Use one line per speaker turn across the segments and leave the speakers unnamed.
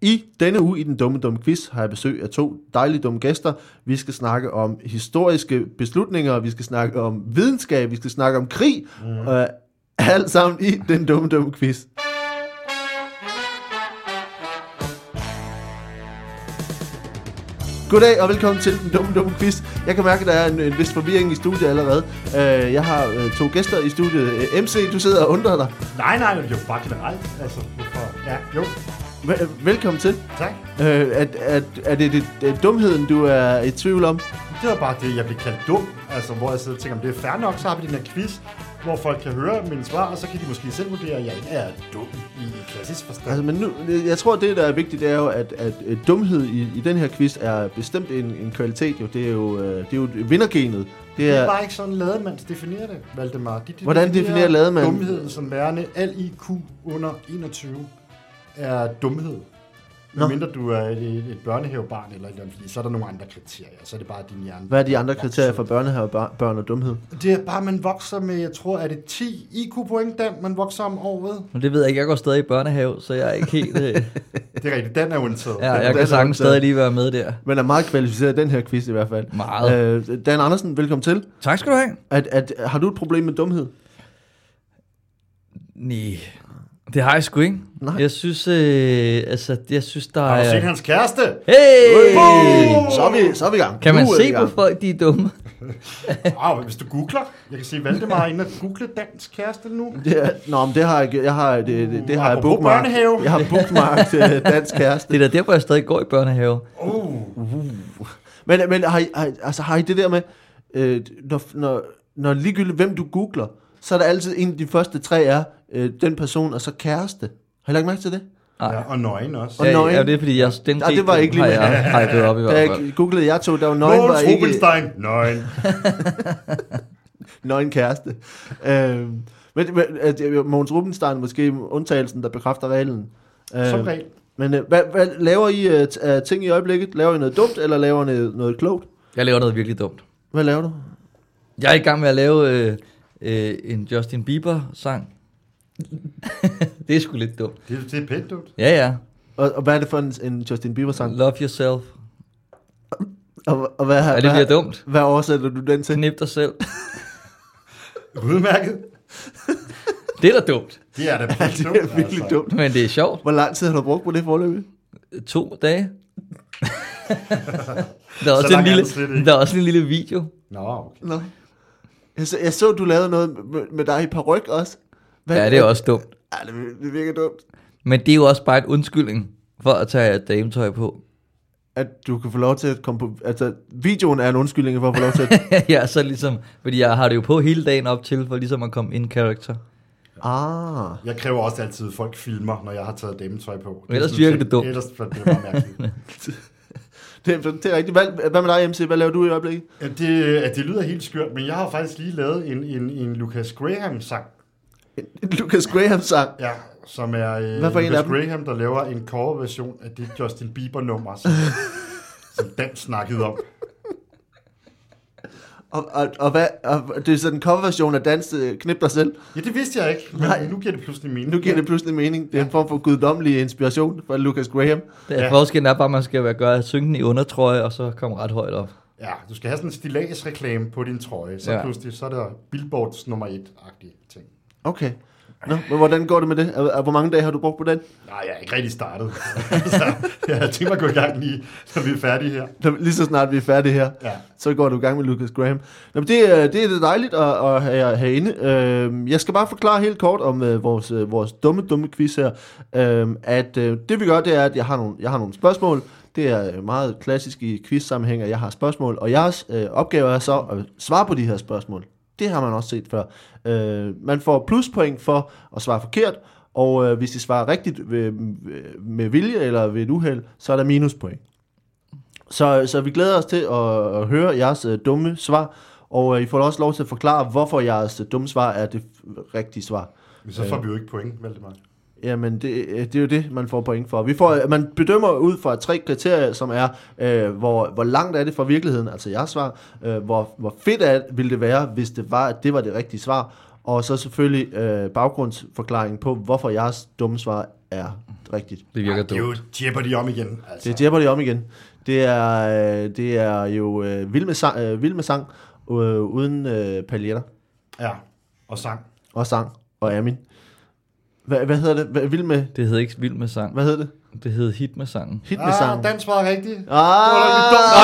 I denne uge i den dumme dumme quiz har jeg besøg af to dejlige dumme gæster. Vi skal snakke om historiske beslutninger, vi skal snakke om videnskab, vi skal snakke om krig. Mm. Øh, alt sammen i den dumme dumme quiz. Goddag og velkommen til den dumme dumme quiz. Jeg kan mærke, at der er en, en vis forvirring i studiet allerede. Øh, jeg har øh, to gæster i studiet. Øh, MC, du sidder og undrer dig.
Nej, nej, jo bare generelt. Altså, hvorfor? Ja, jo.
Vel- Velkommen til.
Tak.
Øh, at, at, er det, det, det dumheden, du er i tvivl om?
Det var bare det, jeg blev kaldt dum. Altså, hvor jeg sidder og tænker, om det er fair nok, så har vi den her quiz, hvor folk kan høre mine svar, og så kan de måske selv vurdere, at jeg ikke er dum i klassisk forstand.
Altså, men nu, jeg tror, det, der er vigtigt, det er jo, at, at øh, dumhed i, i den her quiz er bestemt en, en kvalitet. Jo. Det, er jo, øh, det er jo vindergenet. Det
det er
er,
bare ikke sådan, lademands definerer det, Valdemar. De, de
Hvordan definerer lademand?
Dumheden som værende al IQ under 21 er dumhed.
Nå.
Nå. mindre du er et, et børnehavebarn eller et eller andet, fordi så er der nogle andre kriterier. Så er det bare din hjerne.
hvad er de andre
der
kriterier
vokser.
for børnehave, bør- børn og dumhed?
Det er bare, man vokser med, jeg tror, er det 10 IQ-point, Dan, man vokser om året?
Men det ved jeg ikke. Jeg går stadig i børnehave, så jeg er ikke helt... Øh,
Det er rigtigt, den er undtaget.
ja,
Ja.
jeg
den er
kan sagtens
optaget.
stadig lige være med der.
Men er meget kvalificeret i den her quiz i hvert fald.
Meget.
Øh, Dan Andersen, velkommen til.
Tak skal du have.
At, at, har du et problem med dumhed?
Nej, det har jeg sgu ikke.
Nej.
Jeg synes, øh, altså, jeg synes, der
Har du set
er...
hans kæreste? Øh.
Hey!
Boom!
Så er vi, så er vi i gang.
Kan man
Nu er vi i
se på
gang.
folk, de er dumme?
Wow, hvis du googler, jeg kan se Valdemar inde og google dansk kæreste nu.
Det er, nå, men det har jeg, gjort. jeg har, det, det, det har jeg
Apropos
bookmarked.
børnehave.
Jeg har bookmarked øh, dansk kæreste.
Det er da derfor, jeg stadig går i børnehave.
Oh,
Men, men har, I, har, I- altså, har I det der med, øh, når, når, når ligegyldigt hvem du googler, så er der altid en af de første tre er, øh, den person og så kæreste. Har I lagt mærke til det?
ja, og nøjen også.
Og
Ja,
nøgen.
ja, det er fordi, jeg, den
Nå, det var ikke lige
har
med-
jeg hypet op i
Da
hvert fald.
jeg googlede jeg to, der var nøgen, var
Måls
ikke
Rubinstein, nøgen.
nøgen kæreste. Øh, men men, at, øh, Mogens Rubenstein er måske undtagelsen, der bekræfter reglen. Øh,
Som regel.
Men øh, hvad, hvad laver I øh, t- af ting i øjeblikket? Laver I noget dumt, eller laver I noget, noget klogt?
Jeg laver noget virkelig dumt.
Hvad laver du?
Jeg er i gang med at lave øh, øh, en Justin Bieber-sang. det er sgu lidt dumt.
Det, er- det er pænt, dumt.
Ja, ja.
Og, og hvad er det for en, en Justin Bieber-sang?
Love yourself.
Og, og hvad,
Er det
hvad,
bliver dumt?
Hvad oversætter du den til?
Knip dig selv.
Udmærket.
Det er da dumt.
Det er da pænt,
Det
dumt,
er virkelig
altså.
dumt.
Men det er sjovt.
Hvor lang tid har du brugt på det forløb?
To dage. der, er
Så
også
langt
en
er
lille,
den slet ikke.
der er også en lille video.
Nå, okay.
Nå. Jeg så, jeg så, du lavede noget med, med dig i paryk også. Hvad,
Ja, det er også dumt.
Ja, det, vir- det virker dumt.
Men det er jo også bare en undskyldning for at tage dametøj på.
At du kan få lov til at komme på... Altså, videoen er en undskyldning for at få lov til at...
ja, så ligesom, fordi jeg har det jo på hele dagen op til, for ligesom at komme in character.
ah.
Jeg kræver også altid, at folk filmer, når jeg har taget dametøj på.
Men ellers
Det er sådan
virker det dumt.
Ellers bliver det bare mærkeligt.
Det, det er rigtigt. Hvad, hvad med dig, MC? Hvad laver du i øjeblikket?
Ja, det, ja, det lyder helt skørt, men jeg har faktisk lige lavet en, en, en Lucas Graham-sang.
En Lucas Graham-sang.
Ja, som er øh,
Hvad for en
Lucas
af dem?
Graham, der laver en coverversion af det Justin Bieber-nummer, som, som Dan snakkede om.
Og, og, og, hvad, og det er sådan en coverversion af dans øh, Knip dig selv.
Ja, det vidste jeg ikke, men
Nej.
Nej. nu giver det pludselig mening.
Nu giver det pludselig mening. Det er en form for guddommelig inspiration fra Lucas Graham.
Der,
Ja.
ja. Forskellen er bare, at man skal være gøre synken i undertrøje, og så komme ret højt op.
Ja, du skal have sådan en stillagsreklame på din trøje, så
Ja.
ja. pludselig så er der Billboards nummer et-agtige ting.
Okay. Nå, men hvordan går det med det? Er- er- Hvor mange dage har du brugt på den?
Nej, jeg er ikke rigtig startet. så jeg havde tænkt mig at gå i gang lige, når vi er færdige her.
Når vi- Lige så snart vi er færdige her,
Ja.
så går du i gang med Lucas Graham. Nå, men det, er- det er det dejligt at, at have jer herinde. Øhm, Jeg skal bare forklare helt kort om øh, vores, øh, vores dumme, dumme quiz her. Øhm, At øh, det vi gør, det er, at jeg har nogle, jeg har nogle spørgsmål. Det er øh, meget klassisk i quiz-sammenhæng, at jeg har spørgsmål. Og jeres øh, opgave er så at svare på de her spørgsmål. Det har man også set før. Øh, Man får pluspoint for at svare forkert. Og øh, hvis I svarer rigtigt ved, med vilje eller ved et uheld, så er der minuspoint. Så, så vi glæder os til at, at høre jeres øh, dumme svar, og øh, I får også lov til at forklare, hvorfor jeres øh, dumme svar er det f- rigtige svar.
Men så får vi jo ikke point, Valdemar.
Jamen, det, øh, det er jo det, man får point for. Vi får, øh, man bedømmer ud fra tre kriterier, som er, øh, hvor, hvor langt er det fra virkeligheden, altså jeres svar, øh, hvor, hvor fedt er, ville det være, hvis det var, at det var det rigtige svar, og så selvfølgelig øh, baggrundsforklaringen på, hvorfor jeres dumme svar er rigtigt.
Det virker
Det er jo
dumt.
Jeopardy om igen. Altså.
Det er Jeopardy om igen. Det er, øh, det er jo øh, vild, med sang, øh, vild med sang, øh, uden øh, paljetter
Ja, og sang.
og sang og Amin. Hvad, hvad hedder det? Hvad, vild med,
Det hed ikke Vild med sang.
hvad hedder det?
Det hed Hit med sangen.
Hit med Ah, sang.
Ah, dansk var rigtigt.
Nå,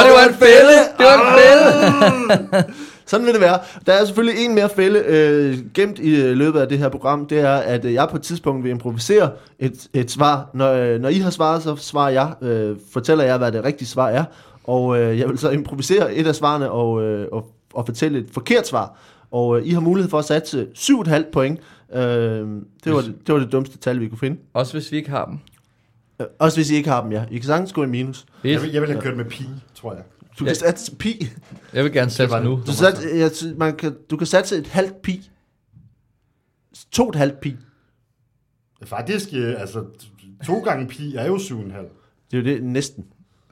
det var en fælde! Det var en fælde!
Sådan vil det være. Der er selvfølgelig en mere fælde øh, gemt i øh, løbet af det her program. Det er, at øh, jeg på et tidspunkt vil improvisere et, et svar. Når, øh, når I har svaret, så svarer jeg. Øh, fortæller jeg, hvad det rigtige svar er. Og øh, jeg vil så improvisere et af svarene og, øh, og, og fortælle et forkert svar. Og øh, I har mulighed for at satse 7,5 point. Øh, det, var, det var det dummeste tal, vi kunne finde.
Også hvis vi ikke har dem.
Øh, også hvis I ikke har dem, ja. I kan sagtens gå i minus.
Jeg,
Fedt.
vil- jeg ville have kørt med pi, tror jeg.
Du
Ja.
kan satse pi.
Jeg vil gerne
var
sætte
det.
nu.
Du, sat, jeg, sy- man kan, du kan satse et halvt pi. To et halvt pi.
Faktisk, øh, altså, to gange pi er jo 7,5.
Det er jo det, næsten.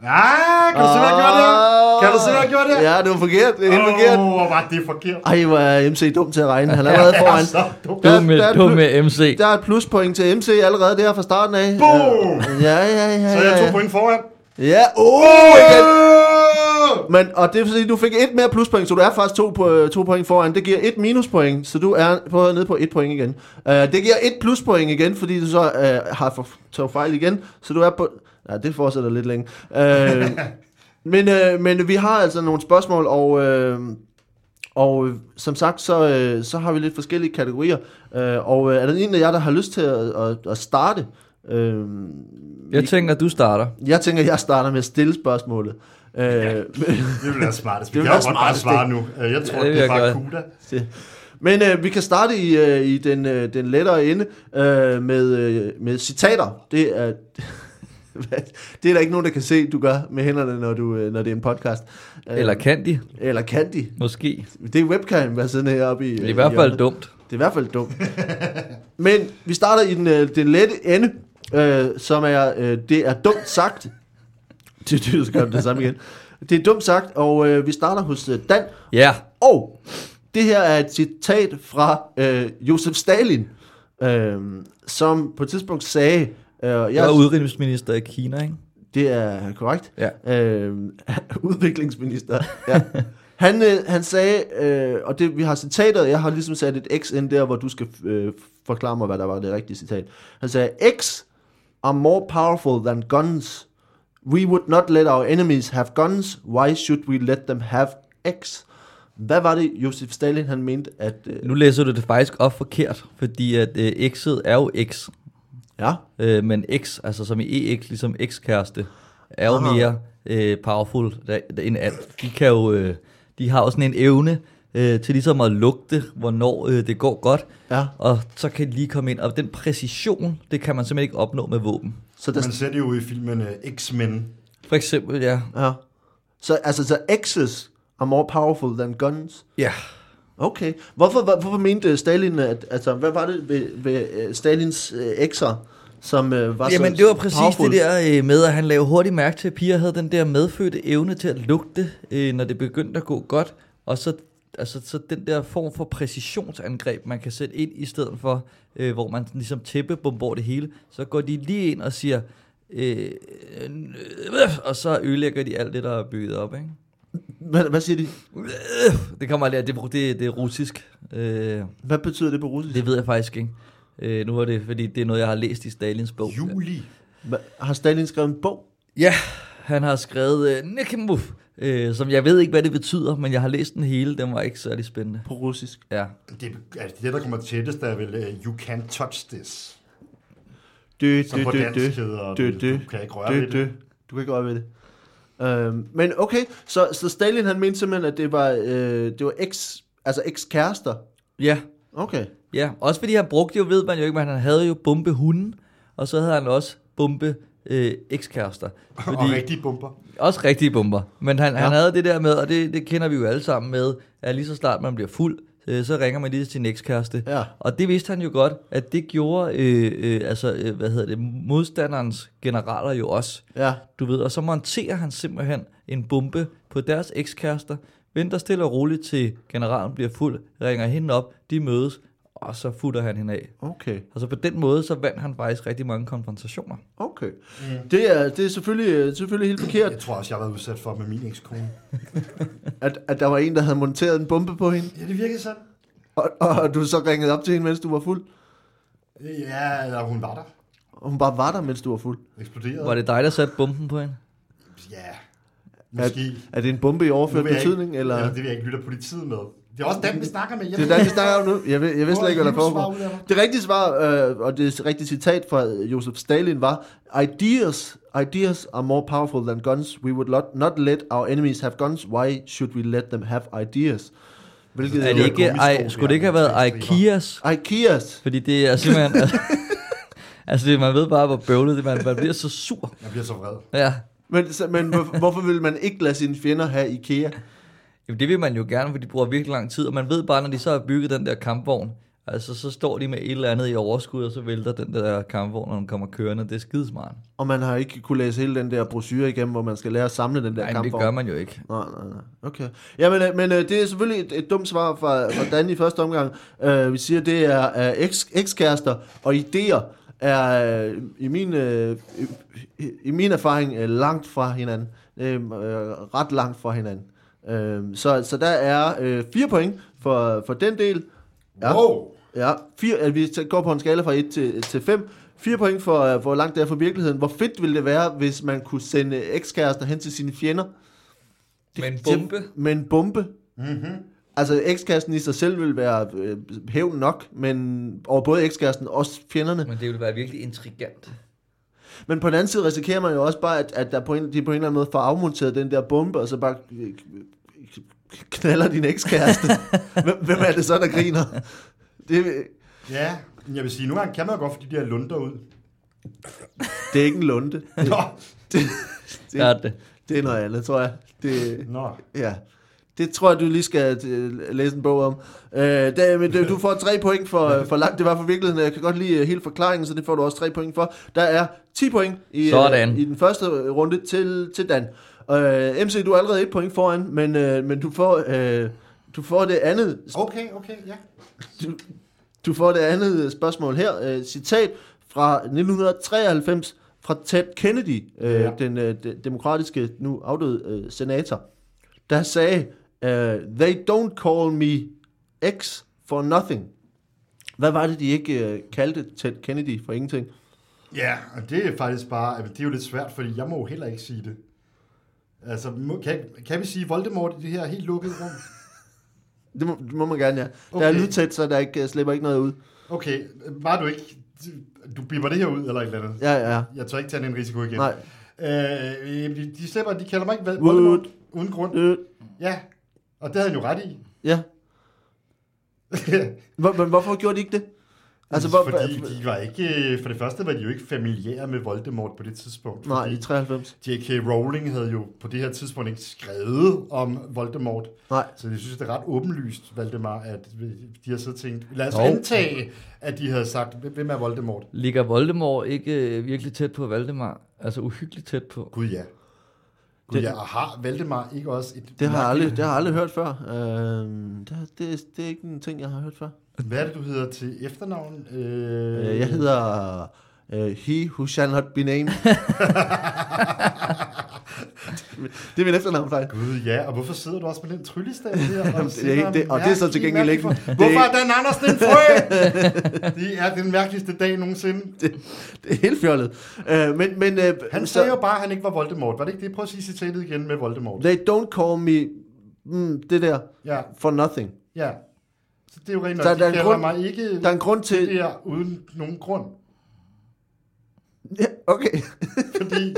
Ah, kan du se, hvad jeg gjorde der? Kan du se, hvad jeg gjorde der?
Ja, det var forkert. Det er helt forkert.
Åh, hvor var det forkert.
Ej, hvor er MC dum til at regne. Han er allerede foran.
Så dumt.
Dumme,
Der- der-
dumme MC.
Der er et pluspoint til MC allerede der fra starten af.
Boom!
Ja, ja, ja.
Så
ja,
er jeg to
ja.
point foran.
Ja, oh, igen. Men, og det er fordi, du fik et mere pluspoint, så du er faktisk to, på, to point foran. Det giver et minuspoint, så du er på, nede på et point igen. Uh, det giver et pluspoint igen, fordi du så uh, har for, taget fejl igen, så du er på... Nej, det fortsætter lidt længe. Uh, men, uh, men vi har altså nogle spørgsmål, og... Uh, og øh, som sagt, så, øh, så har vi lidt forskellige kategorier. Øh, og øh, er der en af jer, der har lyst til at, at, at starte? Øh,
Jeg tænker, du starter.
jeg tænker, jeg starter med at stille spørgsmålet. Øh,
Det ville være smartest. Vi
Det ville
kan jo
være
godt bare
smartest,
svare nu. Øh, Jeg tror,
Ja, det
det,
vil
er
jeg
bare
gøre.
Kuda.
Det. Men øh, vi kan starte i, øh, i den, øh, den lettere ende øh, med, øh, med citater. Det er, det er der ikke nogen, der kan se, du gør med hænderne, når, du, øh, når det er en podcast. Øh,
Eller kan de?
eller kan de?
Måske.
Det er webcam, hvad siden heroppe i.
Det
øh,
er i hvert fald
hjørnet.
dumt.
Det er i hvert fald dumt. Men vi starter i den, øh, den lette ende, øh, som er, øh, det er dumt sagt. Det det- så gør vi det samme igen. Det er dumt sagt, og øh, vi starter hos øh, Dan.
Ja.
Og det her er et citat fra øh, Josef Stalin, øh, som på et tidspunkt sagde, øh,
Jeg
jeg,
er udenrigsminister i Kina, ikke?
det er korrekt,
Ja.
øh, udviklingsminister, ja. han, øh, han sagde, øh, og det, vi har citatet, jeg har ligesom sat et X ind der, hvor du skal øh, forklare mig, hvad der var det rigtige citat. Han sagde, X are more powerful than guns. We would not let our enemies have guns. Why should we let them have X? Hvad var det, Josef Stalin, han mente, at... Øh,
Nu læser du det faktisk op forkert, fordi at øh, X'et er jo X.
ja,
Øh, men X, altså som i EX, ligesom X-kæreste, er jo
Ah.
mere øh, powerful da- da- end alt. De, kan jo, øh, de har jo sådan en evne øh, til ligesom at lugte, hvornår øh, det går godt,
ja.
og så kan de lige komme ind. Og den præcision, det kan man simpelthen ikke opnå med våben.
Så der,
Man ser det jo i filmen øh, X-Men.
For eksempel, ja.
ja. Så, altså, så X's are more powerful than guns.
Ja,
Okay. Hvorfor, hvor, hvorfor mente øh, Stalin, at, altså, hvad var det ved, ved øh, Stalins øh, ekser, som øh, var så
Jamen det var præcis
powerful?
det der øh, med, at han lavede hurtigt mærke til, at piger havde den der medfødte evne til at lugte, øh, når det begyndte at gå godt. Og så, altså, så den der form for præcisionsangreb, man kan sætte ind i stedet for, øh, hvor man ligesom tæppebomber det hele, så går de lige ind og siger, øh, øh, øh, og så ødelægger de alt det, der er bygget op. Ikke?
Hvad, hvad siger de?
Øh, Det kommer aldrig, det, det, det er russisk. Øh,
Hvad betyder det på russisk?
det ved jeg faktisk ikke. Øh, nu er det, fordi det er noget, jeg har læst i Stalins bog.
Juli.
Hva, har Stalin skrevet en bog?
Ja, han har skrevet øh, Nekimov, øh, som jeg ved ikke, hvad det betyder, men jeg har læst den hele. Den var ikke særlig spændende.
På russisk.
Ja.
Det, altså, det, der kommer tættest, er vel øh, You Can't Touch This.
Dø,
Som på dansk hedder
dø,
det,
dø,
du kan ikke røre
dø,
ved det.
dø. Du kan ikke røre ved det. Øhm, men okay, så, så Stalin han mente simpelthen, at det var, øh, det var eks, altså ekskærester.
ja,
Okay.
ja. Også fordi han brugte jo, ved man jo ikke, men han havde jo bombe hunden, og så havde han også bombe øh, ekskærester.
Fordi... Og rigtige bomber.
Også rigtige bomber. Men han, ja. han havde det der med, og det, det kender vi jo alle sammen med, at lige så snart man bliver fuld, øh, så ringer man lige til sin ekskæreste.
Ja.
Og det vidste han jo godt, at det gjorde øh, øh, altså, øh, hvad hedder det, modstanderens generaler jo også.
Ja.
Du ved, og så monterer han simpelthen en bombe på deres ekskærester, venter stille og roligt til generalen bliver fuld, ringer hende op, de mødes, og så futter han hende af.
Okay.
Og så på den måde, så vandt han faktisk rigtig mange konfrontationer.
Okay. Mm. Det, er, det er selvfølgelig, øh, selvfølgelig helt forkert,
Jeg tror også, jeg har været udsat for med min ekskone.
at, at der var en, der havde monteret en bombe på hende,
Ja, det virkede sådan.
og, og du så ringede op til hende, mens du var fuld,
Ja, eller hun var der.
og hun bare var der, mens du var fuld.
Eksploderede.
Var det dig, der satte bomben på hende?
Ja, måske.
Er det en bombe i overført
Nu vil jeg
betydning,
ikke,
eller?
Ja, det vil jeg ikke lytte politiet med. Det er også dem, vi snakker med. Jeg
Det er
ved
der, vi
ikke,
snakker om nu. Jeg ved, jeg ved slet ikke, hvad der
Hvor er
foregår.
livsvarme der?
Det rigtige svar, øh, og det rigtige citat fra øh, Josef Stalin var, Ideas, ideas are more powerful than guns. We would not, not let our enemies have guns. Why should we let them have ideas? Hvilket
Er det ikke,
gummisko,
ej,
det
skulle det
er
ikke have
med
været
tre striber.
Ikeas?
Ikeas.
Fordi det er simpelthen... altså, altså, det, man ved bare, hvor bøvlet det er. Man, man bliver så sur.
Jeg bliver så vred.
Ja.
Men, så- men hvorfor, hvorfor vil man ikke lade sine fjender have Ikea?
Jamen, det vil man jo gerne, for de bruger virkelig lang tid. Og man ved bare, når de så har bygget den der kampvogn, altså, så står de med et eller andet i overskud, og så vælter den der kampvogn, når den kommer kørende. Det er skidesmart.
Og man har ikke kunne læse hele den der brochure igennem, hvor man skal lære at samle den der
Nej, men det
kampvogn.
gør man jo ikke.
Nej, nej, nej. Okay. Ja, men, øh, men øh, det er selvfølgelig et, et dumt svar fra, fra Dan i første omgang. Uh, vi siger, det er uh, eks, ekskærester og idéer er øh, i min, øh, i, i min erfaring øh, langt fra hinanden. Øh, øh, ret langt fra hinanden. Øh, så, så der er øh, fire point for, for den del. Ja.
Wow.
Ja, fire, at vi t- går på en skala fra 1 til, til 5. 4 point for, øh, hvor langt det er fra virkeligheden. Hvor fedt ville det være, hvis man kunne sende ekskærester hen til sine fjender?
Med en bombe? Mhm.
Det, med en bombe.
Mm-hmm.
Altså, ekskæresten i sig selv vil være øh, hævn nok, men over både ekskæresten og også fjenderne.
Men det ville være virkelig intrigant.
Men på den anden side risikerer man jo også bare, at, at der på en, de på en eller anden måde får afmonteret den der bombe, og så bare øh, knaller din ekskæreste. hvem, hvem er det så, der griner? Det,
Ja, men jeg vil sige, nogle gange kan man jo godt få de der lunder ud.
det er ikke en lunde. Det,
Nå,
det,
Ja, det.
Det er noget andet, tror jeg. Det,
nå.
ja. det tror jeg, du lige skal øh, læse en bog om. Øh, det, men det, du får tre point for, for langt. Det var for virkeligheden. Jeg kan godt lide øh, hele forklaringen, så det får du også tre point for. Der er 10 point i, øh,
Sådan.
i den første øh, runde til, til Dan. Øh, MC, du er allerede et point foran, men, øh, men du, får, øh, du får det andet
Okay, okay, ja.
du får det andet spørgsmål her. Øh, citat fra 1993 fra Ted Kennedy, øh,
Ja.
ja. den øh, de- demokratiske, nu afdøde øh, senator, der sagde, øh, They don't call me X for nothing. Hvad var det, de ikke øh, kaldte Ted Kennedy for ingenting?
Ja, og det er faktisk bare, altså, det er jo lidt svært, fordi jeg må jo heller ikke sige det. Altså, må, kan, kan vi sige Voldemort i det her helt lukkede rum?
Det må, det må man gerne, ja. Okay. Der er
Okay.
lydtæt, så der ikke, øh, slipper ikke noget ud.
Okay, var du ikke, du bipper det her ud eller et eller andet?
Ja, ja.
Jeg tør ikke tage den risiko igen.
Nej.
Øh, de, de slipper, de kalder mig ikke
Wood.
Voldemort uden grund.
Øh,
Ja, og det havde han jo ret i.
ja. Hvor, men hvorfor gjorde de ikke det? Altså,
altså,
hvor,
fordi de var ikke, øh, for det første var de jo ikke familiære med Voldemort på det tidspunkt.
nej,
fordi
i 93.
J.K. Rowling havde jo på det her tidspunkt ikke skrevet om Voldemort.
Nej.
Så jeg synes, det er ret åbenlyst, Valdemar, at de har så tænkt, lad os
Jo.
antage, at de havde sagt, hvem er Voldemort?
Ligger Voldemort ikke øh, virkelig tæt på Valdemar? Altså uhyggeligt tæt på?
Gud ja. Gud
Det-
ja, og har Valdemar ikke også et...
Det har, jeg aldrig, det har jeg aldrig hørt før. Øhm, det, det, det er ikke en ting, jeg har hørt før.
Hvad er det, du hedder til efternavn? Øh,
Øh, jeg hedder øh, He Who Shall Not Be Named. det er min efternavn, faktisk.
Gud ja, og hvorfor sidder du også med den tryllestav der? Og,
det er ikke- det- og det er så til gengæld ikke- det er
Hvorfor er
ikke-
Dan Andersen en frø? det er den mærkeligste dag nogensinde.
Det er helt fjollet. Øh, men, men, øh,
Han sagde jo bare, at han ikke var Voldemort. Var det ikke det? Prøv at sige citatet igen med Voldemort.
They don't call me mm, det der
Ja,
for nothing.
ja. Så det er jo rent
Der-
nok, de
der er en
kalder
grund-
mig ikke
Der er en grund
det
til...
der uden nogen grund.
Ja, okay.
Fordi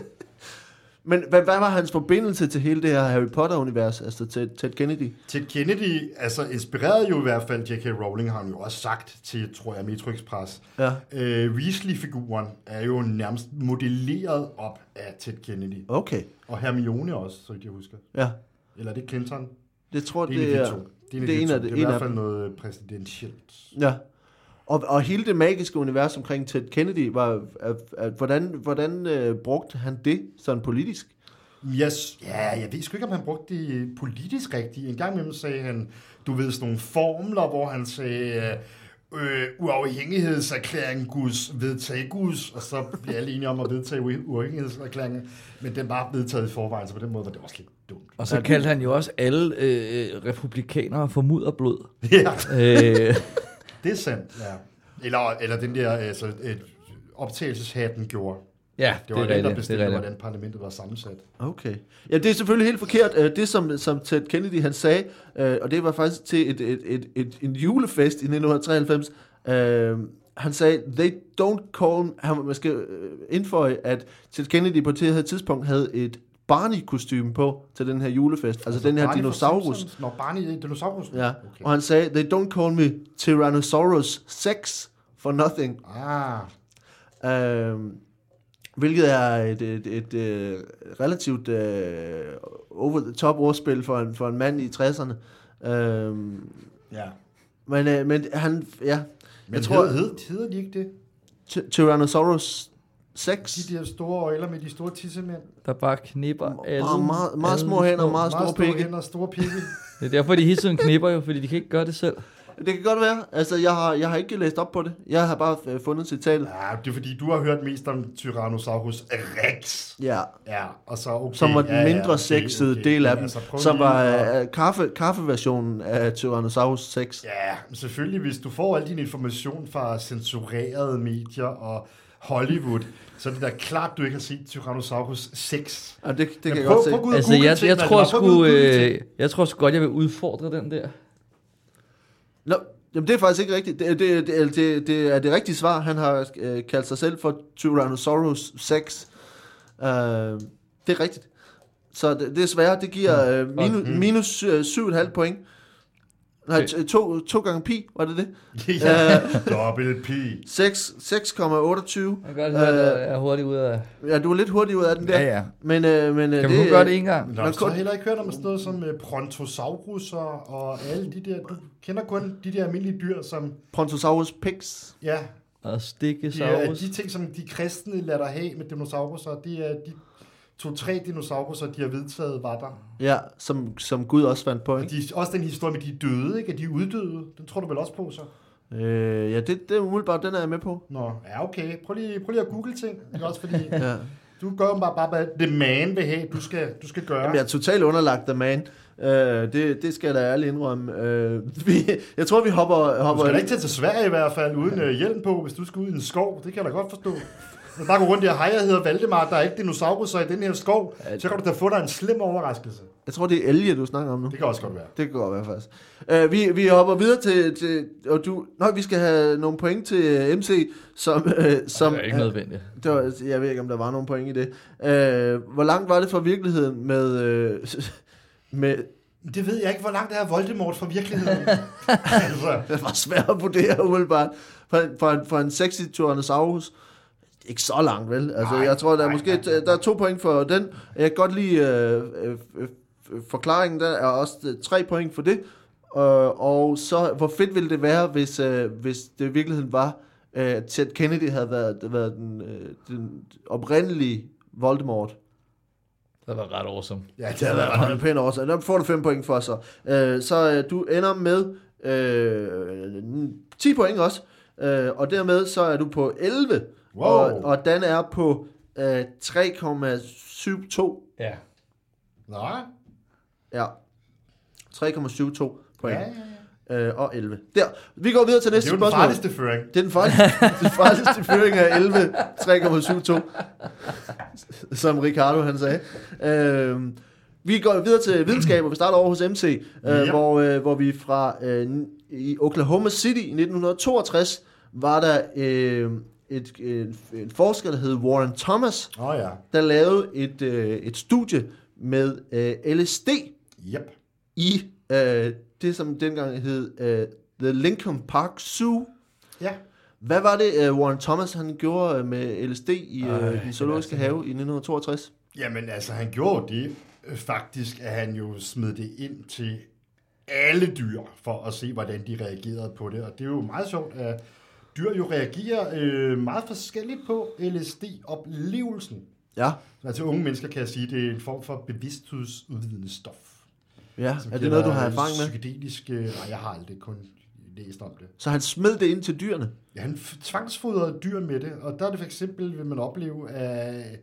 Men hvad, hvad var hans forbindelse til hele det her Harry Potter-univers? Altså til Ted Kennedy?
Ted Kennedy, altså inspireret jo i hvert fald J.K. Rowling, har han jo også sagt til, tror jeg, Metro Express.
Ja.
Øh, Weasley-figuren er jo nærmest modelleret op af Ted Kennedy.
Okay.
Og Hermione også, så vidt jeg husker.
Ja.
Eller er det Clinton?
Det tror
Det er, en
det
af
er...
de to. Det er, en af de
en
to.
af
det
det- en
er i
af
hvert fald noget præsidentielt.
Ja. Og, og hele det magiske univers omkring Ted Kennedy, var, at, at, hvordan, hvordan øh, brugte han det sådan politisk?
Yes. Ja, jeg ved sgu ikke, om han brugte det politisk rigtigt. En gang imellem sagde han, du ved, sådan nogle formler, hvor han sagde, øh, øh, uafhængighedserklæring Guds vedtage Guds, og så bliver alle enige om at vedtage ua- uafhængighedserklæringen, men den var vedtaget i forvejen, så på den måde var det også lidt dumt.
Og så kaldte han jo også alle øh, republikanere for mudderblod.
Ja,
øh,
det er sandt. Ja. Eller, eller den der altså, øh, optagelseshatten gjorde.
ja,
Det var det den, der
det
bestemte,
er rigtigt.
hvordan parlamentet var sammensat.
Okay. Ja, det er selvfølgelig helt forkert. Øh, Det, som, som Ted Kennedy han sagde, øh, og det var faktisk til et, et, et, et, en julefest i 1993, øh, han sagde, they don't call... Han, man skal øh, indføje, at Ted Kennedy på det her tidspunkt havde et barney kostume på til den her julefest. Altså, altså den her
Barney fra
dinosaurus.
Simpsons? Nå, Barney dinosaurus?
Ja.
Okay.
Og han sagde, they don't call me Tyrannosaurus 6 for nothing.
Ah,
Øhm, hvilket er et, et, et, et relativt øh, over-the-top ordspil for en, for en mand i 60'erne. Øhm,
ja.
men, øh, men han, ja,
Men
jeg tror,
hed, hed, hedder de ikke det?
Ty- Tyrannosaurus 6
De der store øjler med de store tissemænd.
Der bare knipper alle.
og meget, meget
alle
små hænder og meget
Meget
store
store
pikke.
hænder, store pikke.
Det er derfor, de hele tiden knipper jo, fordi de kan ikke gøre det selv.
Det kan godt være. Altså, jeg har, jeg har ikke læst op på det. Jeg har bare øh, fundet citatet.
ja, det er fordi, du har hørt mest om Tyrannosaurus rex.
Ja.
Ja, og så okay.
Som var
ja,
den mindre
okay,
sexede
okay.
del af
Men altså,
dem,
prøv
som
lige
var
at-
øh, kaffe, kaffeversionen af Tyrannosaurus 6.
Ja, men selvfølgelig, hvis du får al din information fra censurerede medier og Hollywood, så er det da klart, du ikke har set Tyrannosaurus 6.
Ja, det, det kan
Men
jeg
prøv-
godt se.
prøv at gå ud og
Altså,
google
jeg,
ting,
jeg,
altså. Prøv
tror
at gå ud og
sgu,
google ting.
øh, jeg tror sgu godt, jeg vil udfordre den der.
Nå, jamen det er faktisk ikke rigtigt. Det, det, det, det, det er det rigtige svar. Han har øh, kaldt sig selv for Tyrannosaurus 6. Øh, det er rigtigt. Så det, desværre, det giver øh, minus,
Mm.
minus øh, 7,5 point. Nej,
Okay.
t- to, to gange pi, var det det?
øh,
ja, dobbelt pi.
6 6,28.
Jeg kan godt
høre,
høre,
Øh, at
at jeg er hurtigt ude af...
Ja, du er lidt hurtig ud af den der.
ja.
Men, øh, men, øh,
Kan vi nu
øh,
gøre det en gang?
Nå,
Man
så
kun-
har jeg heller ikke hørt om sådan noget som øh, brontosaurusser og alle de der... Du kender kun de der almindelige dyr, som...
Prontosaurus Pix.
Ja, de,
Og
er,
stikkesaurus.
de ting, som de kristne lader dig have med dinosauruser, det er de to-tre dinosauruser, de har vedtaget, var der.
Ja, som, som Gud også fandt på.
Og
Ikke?
de, også den historie med, de er døde, ikke? At de er uddøde. Den tror du vel også på, så?
Øh, ja, det, det er umiddelbart, den er jeg med på.
Nå, ja okay. Prøv lige, prøv lige at google ting. Ikke også fordi,
Ja.
du gør jo bare, bare, bare det man vil have, du skal, du skal gøre.
Jamen, jeg er totalt underlagt af man. Øh, det, det skal jeg da ærligt indrømme. Øh, vi, jeg tror, vi hopper...
du
hopper
skal da ikke tage til Sverige i hvert fald, uden øh, hjelm på, hvis du skal ud i en skov. Det kan jeg da godt forstå. Men bare gå rundt der, hej, jeg hedder Valdemar, der er ikke dinosauruser i den her skov. Så kan du da få dig en slem overraskelse.
Jeg tror, det er elge, du snakker om nu.
Det kan også godt være.
Det kan godt være, faktisk. Øh, vi, vi hopper videre til... til og du, nej, vi skal have nogle point til øh, MC, som... Øh, som
det er ikke nødvendigt.
øh, det var, jeg ved ikke, om der var nogle point i det. Øh, hvor langt var det fra virkeligheden med... Øh, med
Det ved jeg ikke, hvor langt er Voldemort fra virkeligheden. altså,
det var svært at vurdere, umiddelbart. For, en- for, en, for en sexy Tyrannosaurus. Ikke så langt, vel? Altså,
Nej,
jeg tror, der er
nej,
måske
nej, nej,
der er to point for den. Jeg kan godt lide øh, øh, øh, øh, forklaringen, der er også øh, tre point for det. Øh, og så, hvor fedt ville det være, hvis, øh, hvis det i virkeligheden var, øh, Ted Kennedy havde været, været den, øh, den oprindelige Voldemort.
Det var ret awesome.
ja, det
Det
er
har været en pæn årsag. Der får du 5 point for så. Øh, så øh, du ender med øh, 10 point også. Øh, og dermed så er du på 11.
Wow.
Og, og Dan er på øh, 3,72.
Ja.
Nå,
Ja. 3,72 point.
ja, ja, ja.
Øh, og 11. Der. Vi går videre til
Det
næste
er jo den
spørgsmål.
farligste føring.
Det er den farligste, den farligste fyring af 11, 3,72, som Ricardo han sagde. Øhm, vi går videre til videnskab, og vi starter over hos MC, øh,
Ja.
hvor, øh, hvor vi fra øh, i Oklahoma City i 1962 var der øh, et, en, en forsker, der hed Warren Thomas,
Åh oh, ja,
der lavede et, øh, et studie med øh, LSD
yep.
i øh, det, som dengang hed øh, The Lincoln Park Zoo.
Ja,
Hvad var det, uh, Warren Thomas han gjorde øh, med LSD i
Ej,
øh, den
det
zoologiske
var
have i 1962?
Jamen altså, han gjorde det øh, faktisk, at han jo smed det ind til alle dyr, for at se, hvordan de reagerede på det. Og det er jo meget sjovt, at dyr jo reagerer øh, meget forskelligt på LSD-oplevelsen.
Ja,
Så til Altså, unge mennesker kan jeg sige, at det er en form for bevidsthedsudvidende stof.
ja.
som øh,
er det
giver
noget, du
dig
har erfaring med?
Psykedeliske... Nej, jeg har aldrig kun læst om det.
Så han smed det ind til dyrene.
Ja, han f- tvangsfodrede dyr med det, og der er det for eksempel, vil man opleve, at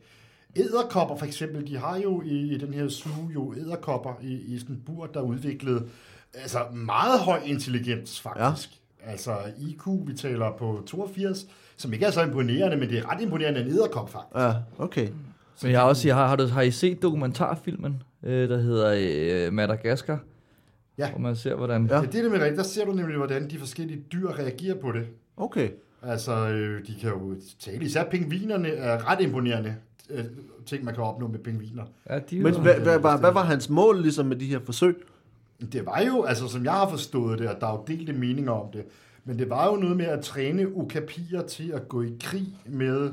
æderkopper for eksempel, de har jo i, i den her zoo jo æderkopper i, i sådan en bur, der er udviklet altså meget høj intelligens faktisk. Ja. Altså IQ, vi taler på 82, som ikke er så imponerende, men det er ret imponerende af en æderkop faktisk.
Ja, okay.
Men jeg har også sige, har, har, du, har I set dokumentarfilmen, øh, der hedder øh, Madagaskar?
Ja.
Hvor man ser, hvordan...
Ja, det er det med rigtigt. Der ser du nemlig, hvordan de forskellige dyr reagerer på det.
Okay.
Altså, øh, de kan jo tale. Især pingvinerne er ret imponerende øh, ting, man kan opnå med pingviner.
Ja, de er
Men
jo-
hvad, hvad, hvad, hvad var hans mål ligesom med de her forsøg?
Det var jo, altså som jeg har forstået det, og der er jo delte meninger om det, men det var jo noget med at træne okapier til at gå i krig med,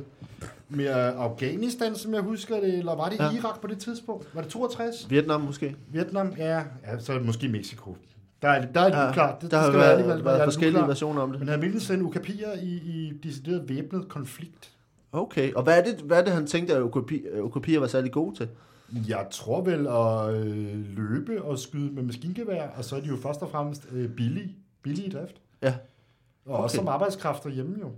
med Afghanistan, som jeg husker det, eller var det
Ja.
ja. Irak på det tidspunkt? Var det 62?
Vietnam måske?
Vietnam? Ja, ja så er det måske Mexico. Der er, der er det ja, uklart. Det,
der
det
har
skal være,
været,
alligevel
været,
være
været
lidt
forskellige
uklart.
versioner om det.
Men han ville sende okapier i, i decideret væbnet konflikt.
Okay, og hvad er det, hvad er det han tænkte, at økopi- øh, økopier var særlig gode til?
Jeg tror vel at øh, løbe og skyde med maskingevær, og så er de jo først og fremmest øh, billige, billige i drift.
Ja.
Og okay. også
Okay.
som arbejdskraft derhjemme jo.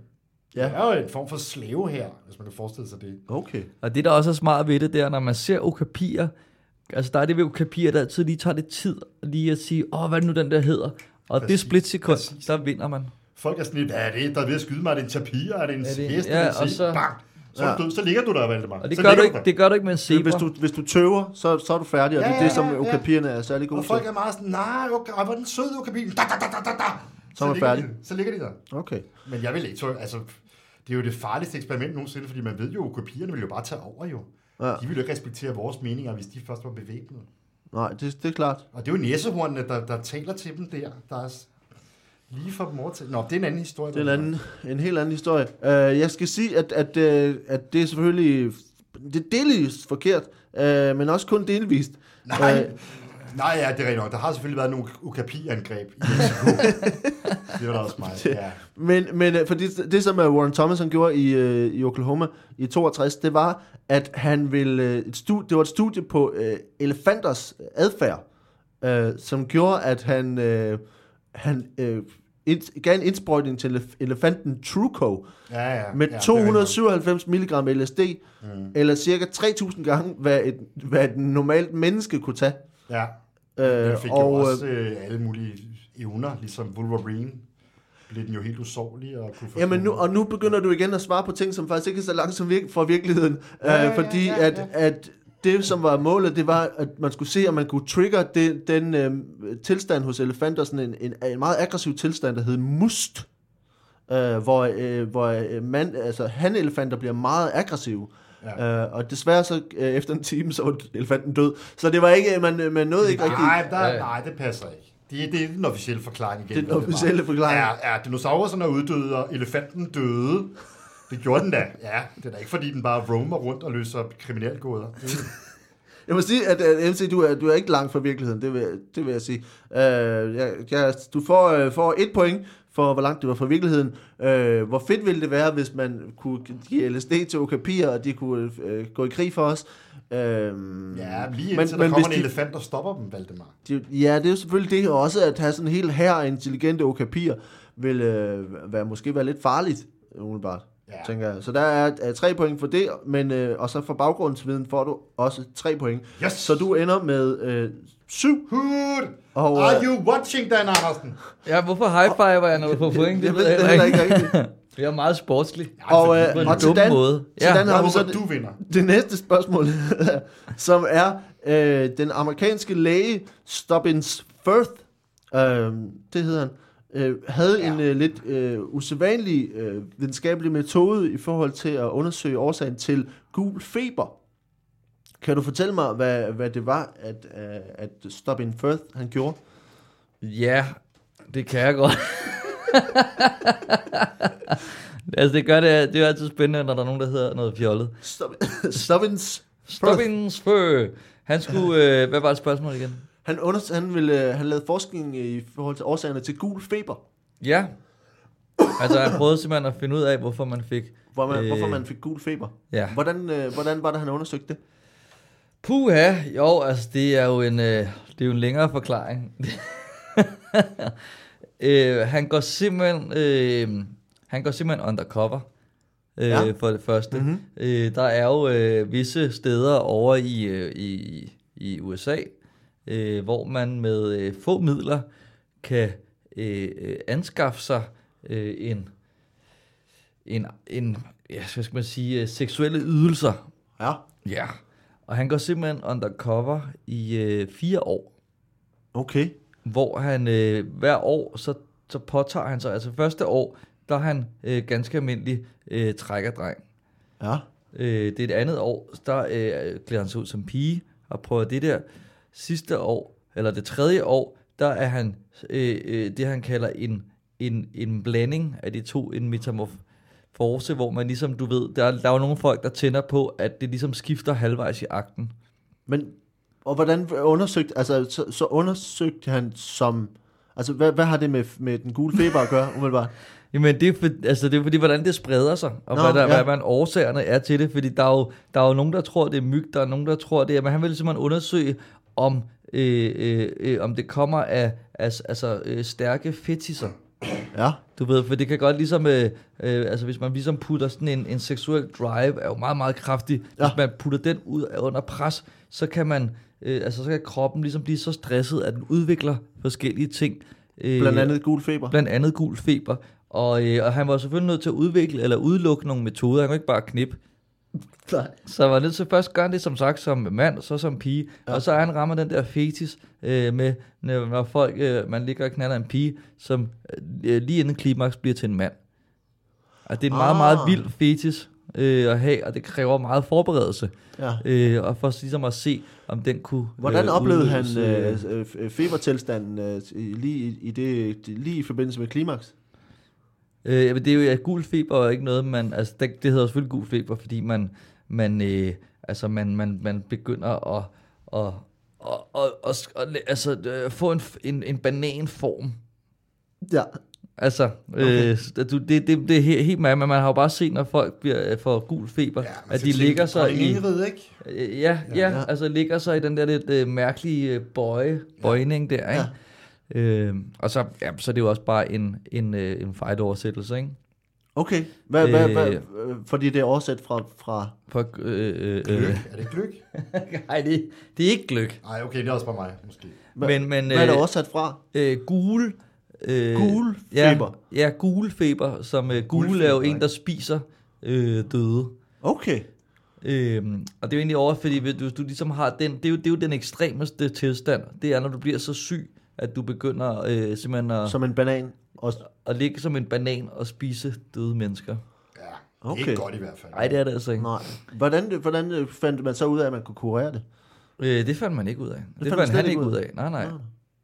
Ja.
Ja. Det er jo en form for slave her, hvis man kan forestille sig det.
Okay.
Og det, der også er smart ved det, det er, når man ser okapier, altså der er det ved okapier, der altid lige tager lidt tid lige at sige, åh, hvad er det nu den der hedder? Og præcis, det
Præcis,
splitsekund,
præcis.
der vinder man.
Folk er sådan lidt, hvad er det, der er ved at skyde mig? Er det en tapir? Er det en
Er det en-
hest?
ja,
Ja,
og
og så...
så-
Bang! Så,
Ja.
ja. du, så ligger du der, Valdemar.
Og det,
så
gør du,
ligger
ikke, det gør du ikke med en zebra.
Hvis du, hvis du tøver, så, så er du færdig, og det
Ja,
er det,
ja,
som
ja, ja.
økopierne er særlig gode
Og folk
til.
er meget sådan, nej, okay, ej, hvor er den søde okapi. Da, da, da, da, da, da.
Så er man
ligger
færdig.
De, så ligger de der.
Okay.
Men jeg vil ikke, tro- altså, det er jo det farligste eksperiment nogensinde, fordi man ved jo, at kopierne vil jo bare tage over jo.
Ja.
Ja. De ville jo ikke respektere vores meninger, hvis de først var bevæbnet.
Nej, det, det er klart.
Og det er jo næsehornene, der, der taler til dem der. Der er s- lige for dem over til... Nå, det er en anden historie.
Det er en, anden, en helt anden historie. Uh, jeg skal sige, at, at, uh, at det er selvfølgelig det er delvist forkert, uh, men også kun delvist.
Nej,
Øh.
nej, ja, det er rigtigt nok. Der har selvfølgelig været nogle ukapi-angreb i Mexico. det var da også mig, ja.
Men, men øh, fordi det, det, som øh, Warren Thomas han gjorde i, øh, i Oklahoma i 62, det var, at han ville, øh, et studie, det var et studie på øh, elefanters adfærd, øh, som gjorde, at han, øh, han øh, ind, gav en indsprøjtning til elef- elefanten Truco
ja, ja
med
ja, det er
ja, 297
rigtigt
mg LSD, mm. eller cirka 3.000 gange, hvad et, hvad et normalt menneske kunne tage.
nok. Ja,
Øh,
den fik og,
og,
jo også øh, alle mulige evner, ligesom Wolverine. Blev den jo helt usårlig og kunne få...
Jamen nu, og nu begynder du igen at svare på ting, som faktisk ikke er så langt som virke, fra virkeligheden. Ja, øh, fordi ja, ja, ja. At, at det, som var målet, det var, at man skulle se, om man kunne trigge den, den øh, tilstand hos elefanter, sådan en, en, en meget aggressiv tilstand, der hed must. Øh, hvor øh, hvor øh, man, altså, han-elefanter bliver meget aggressive. Ja.
Ja.
Øh, og desværre så, øh, efter en time, så var elefanten død. Så det var ikke, øh, man, man nåede ikke rigtigt.
Nej, der,
Ja.
nej, det passer ikke. Det, det er den officielle forklaring igen.
Det er den
Valdemar.
officielle forklaring.
Ja, ja, dinosaurerne er uddøde, og elefanten døde. Det gjorde den da. Ja, det er da ikke, fordi den bare roamer rundt og løser kriminalgåder.
Jeg må sige, at, at MC, du er, du er ikke langt fra virkeligheden, det vil, det vil jeg sige. Øh, jeg, jeg, du får, øh, får et point for, hvor langt du var fra virkeligheden. Øh, hvor fedt ville det være, hvis man kunne give LSD til okapier, og de kunne øh, gå i krig for os? Øh, ja,
Ja, lige indtil men, der kommer en de... elefant og stopper dem, Valdemar.
de, ja, det er jo selvfølgelig det, og også at have sådan en hel her af intelligente okapier, vil øh, være, måske være lidt farligt, umiddelbart, ja.
Ja.
tænker jeg. Så der er, er tre point for det, men, øh, og så for baggrundsviden får du også tre point.
Yes!
Så du ender med øh, syv.
Hood!
Og,
Are
øh,
you watching, Dan Andersen?
Ja, hvorfor high-fiver jeg, når du får point? Det
jeg
ved jeg
det
heller ikke.
heller ikke.
Jeg er meget sportslig.
og,
På
øh,
en
og til
dum
Dan,
måde.
til Dan
Jeg
har vi så
håber,
det,
du vinder.
det næste spørgsmål, som er øh, den amerikanske læge Stubbins Firth, øh, det hedder han, øh, havde ja. en øh, lidt øh, usædvanlig øh, videnskabelig metode i forhold til at undersøge årsagen til gul feber. Kan du fortælle mig, hvad, hvad det var, at, øh, at Stubbin Firth han gjorde?
Ja, det kan jeg godt. altså det gør det, det er jo altid spændende, når der er nogen, der hedder noget fjollet.
Stubbin- Stubbins
Stubbins Fø. Han skulle, øh, hvad var spørgsmålet igen?
Han, under, han, ville, øh, han lavede forskning i forhold til årsagerne til gul feber,
Ja. Altså han prøvede simpelthen at finde ud af, hvorfor man fik...
hvor man, øh, hvorfor man fik gul feber.
Ja.
Hvordan, øh, hvordan var det, han undersøgte det?
Puha, jo, altså det er jo en, øh, det er jo en længere forklaring. Øh, han går simpelthen, øh, han går simpelthen undercover. Øh,
Ja.
ja. For det første. Mm-hmm. Øh, der er jo øh, visse steder over i, øh, i, i USA, øh, hvor man med øh, få midler kan øh, øh, anskaffe sig øh, en, en, en ja, hvad skal man sige, øh, seksuelle ydelser.
Ja.
Ja. Og han går simpelthen undercover i øh, fire år
Okay.
hvor han øh, hver år, så, så påtager han sig, altså første år, der er han øh, ganske almindelig øh, trækkerdreng.
Ja.
Øh, det er et andet år, der øh, klæder han sig ud som pige og prøver det der. Sidste år, eller det tredje år, der er han øh, øh, det, han kalder en, en, en blanding af de to, en metamorfose, hvor man ligesom, du ved, der, er- der er jo nogle folk, der tænder på, at det ligesom skifter halvvejs i akten.
Men, og hvordan undersøgte, altså, så, så undersøgte han som, altså, hvad, hvad har det med, med den gule feber at gøre, umiddelbart?
Jamen, det er, for, altså, det er fordi, hvordan det spreder sig,
Nå,
og Nå, hvad, der,
ja.
ja. hvad, hvordan årsagerne er til det. Fordi der er, jo, der er jo nogen, der tror, det er myg, der er nogen, der tror, det er... Men han vil simpelthen undersøge, om, øh, øh, øh, om det kommer af altså, altså, øh, stærke fetisser.
Ja.
Du ved, for det kan godt ligesom... Øh, øh, altså, hvis man ligesom putter sådan en, en seksuel drive, er jo meget, meget kraftig. Ja.
Ja.
Hvis man putter den ud af under pres, så kan man... Øh, altså, så kan kroppen ligesom blive så stresset, at den udvikler forskellige ting. Øh,
Blandt andet gul feber.
blandt andet gul feber. Og, øh, og han var selvfølgelig nødt til at udvikle eller udelukke nogle metoder. Han kunne ikke bare knippe.
Nej.
Så han var nødt til først gøre det som sagt som mand, så som pige. Ja. Og så er han rammer den der fetis øh, med, når når folk, øh, man ligger og knaller en pige, som øh, lige inden klimaks bliver til en mand. Og det er en meget,
Ah.
meget vild fetis øh, at have, og det kræver meget forberedelse.
Ja.
Øh, og for ligesom at se, om den kunne... øh,
Hvordan oplevede han
udløse,
øh, øh, f- øh, febertilstanden øh, i- lige, i- i det, lige i forbindelse med klimaks?
Øh, jamen, det er jo ja, gul feber er jo ikke noget, man... Altså, det, det hedder selvfølgelig gul feber, fordi man, man, øh, altså, man, man, man begynder at, at, at, at, at, at, at altså, øh, få en, f- en, en bananform.
Ja.
Altså, øh,
Okay.
okay. du, det, det, det er helt, helt mærkeligt, men man har jo bare set, når folk bliver, øh, får gul feber, ja, at de ligger sig i...
Ingrid, ikke?
Øh, ja, ja,
Ja.
ja, altså ligger sig i den der lidt øh, mærkelige øh, bøje, bøjning der, ikke? Ja. Øh, og så, ja, så er det jo også bare en, en, øh, en fejl oversættelse, ikke?
Okay. Hvad, hvad,
Øh.
hvad, øh, fordi det er oversat fra... fra
For, øh, øh, øh,
Gløk. Er det gløk?
nej, det, det er ikke gløk.
Nej, okay, det er også bare mig, måske.
Hva-
men men
hvad er det
øh,
oversat fra?
øh, gule... Øh,
Gule
ja,
feber.
Ja, gule feber, som øh, gule,
Gule
er jo
feber,
en, der spiser øh, døde.
Okay.
Øhm, og det er jo egentlig over, fordi hvis du, hvis du ligesom har den, det er, jo, det er jo den ekstremeste tilstand, det er, når du bliver så syg, at du begynder øh, simpelthen at,
Som en banan. Og,
at ligge som en banan og spise døde mennesker.
Ja,
Okay.
okay. ikke godt i hvert fald.
Nej, det er det altså ikke.
nej. Hvordan, hvordan øh, fandt man så ud af, at man kunne kurere det?
Øh, det fandt man ikke ud af. Det,
fandt
det
man
fandt
slet
han
ikke
ikke
ud
ud af. Nej, nej.
Nå.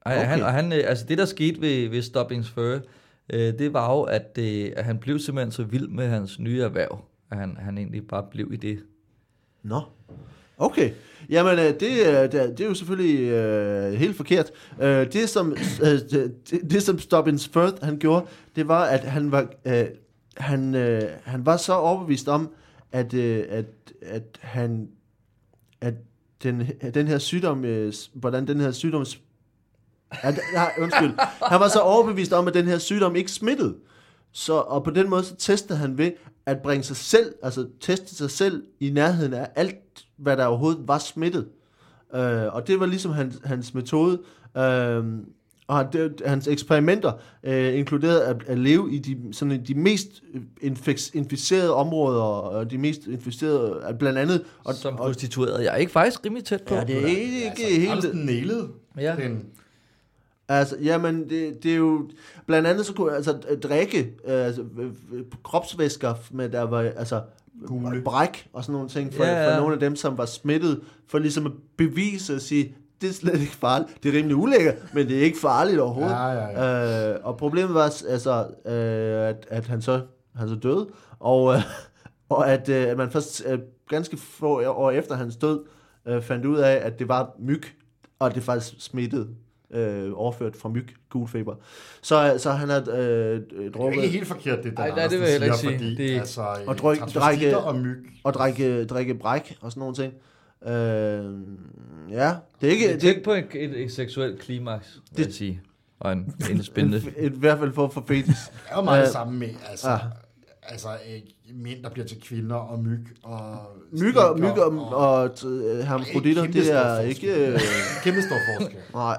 Ej,
Okay.
okay. han, og han, øh, altså det, der skete ved, ved Stoppings Fur, øh, det var jo, at, øh, at han blev simpelthen så vild med hans nye erhverv, at han, han egentlig bare blev i det.
Nå. Okay. Jamen, øh, det, øh, det, er- det er jo selvfølgelig øh, helt forkert. Øh, det, som, øh, det, det, som Stobbins Firth, han gjorde, det var, at han var, øh, han, øh, han var så overbevist om, at, øh, at, at han, at den, at den her sygdom, øh, s- hvordan den her sygdom, s- at, nej, undskyld. Han var så overbevist om, at den her sygdom ikke smittede. Så, og på den måde så testede han ved at bringe sig selv, altså teste sig selv i nærheden af alt, hvad der overhovedet var smittet. Øh, og det var ligesom hans, hans metode. Øh, og han- det, hans eksperimenter øh, inkluderede at, at leve i de, sådan, de mest infek- inficerede områder, og de mest inficerede, at blandt andet... Og,
Og, som prostitueret. Jeg er ikke faktisk rimelig tæt på.
ja, det er ikke
altså,
helt...
helt... den nælede.
Ja.
Den,
Altså, jamen, det, det er jo... Blandt andet så kunne altså øh, drikke øh, altså, øh, øh, kropsvæsker, med der var altså
Gule.
bræk og sådan nogle ting for,
Ja,
ja,
ja.
ja. for nogle af dem, som var smittet, for ligesom at bevise og sige, det er slet ikke farligt. Det er rimelig ulækkert, men det er ikke farligt overhovedet.
Ja, ja,
Øh, og problemet var altså, øh, at, at han, så, han så døde, og, øh, og at, øh, at man først øh, ganske få år efter hans død øh, fandt ud af, at det var myg, og at det faktisk smittede, øh, overført fra myg, gulfeber. Så, så han har øh, øh,
det er jo ikke
drukket
helt forkert, det der
Ej, nej, det vil jeg heller ikke sige. Det-
altså,
Og
og
dryk-
dryk,
drikke-
og myg.
og drikke, drikke bræk og sådan nogle ting. Øh, ja, det er ikke... Det,
Tænk på et, et, et seksuelt klimaks, vil
Det-
jeg sige. og en, en spændende...
I hvert fald for for fetis.
Det er jo meget
Øh,
det samme med, altså,
ah.
altså øh, mænd, der bliver til kvinder, og myg, og...
Mykker,
stikker,
mykker og, og t- hermafroditter,
kæmpe
det er
stor
ikke... Øh,
forskel. Kæmpe stor forskel.
nej,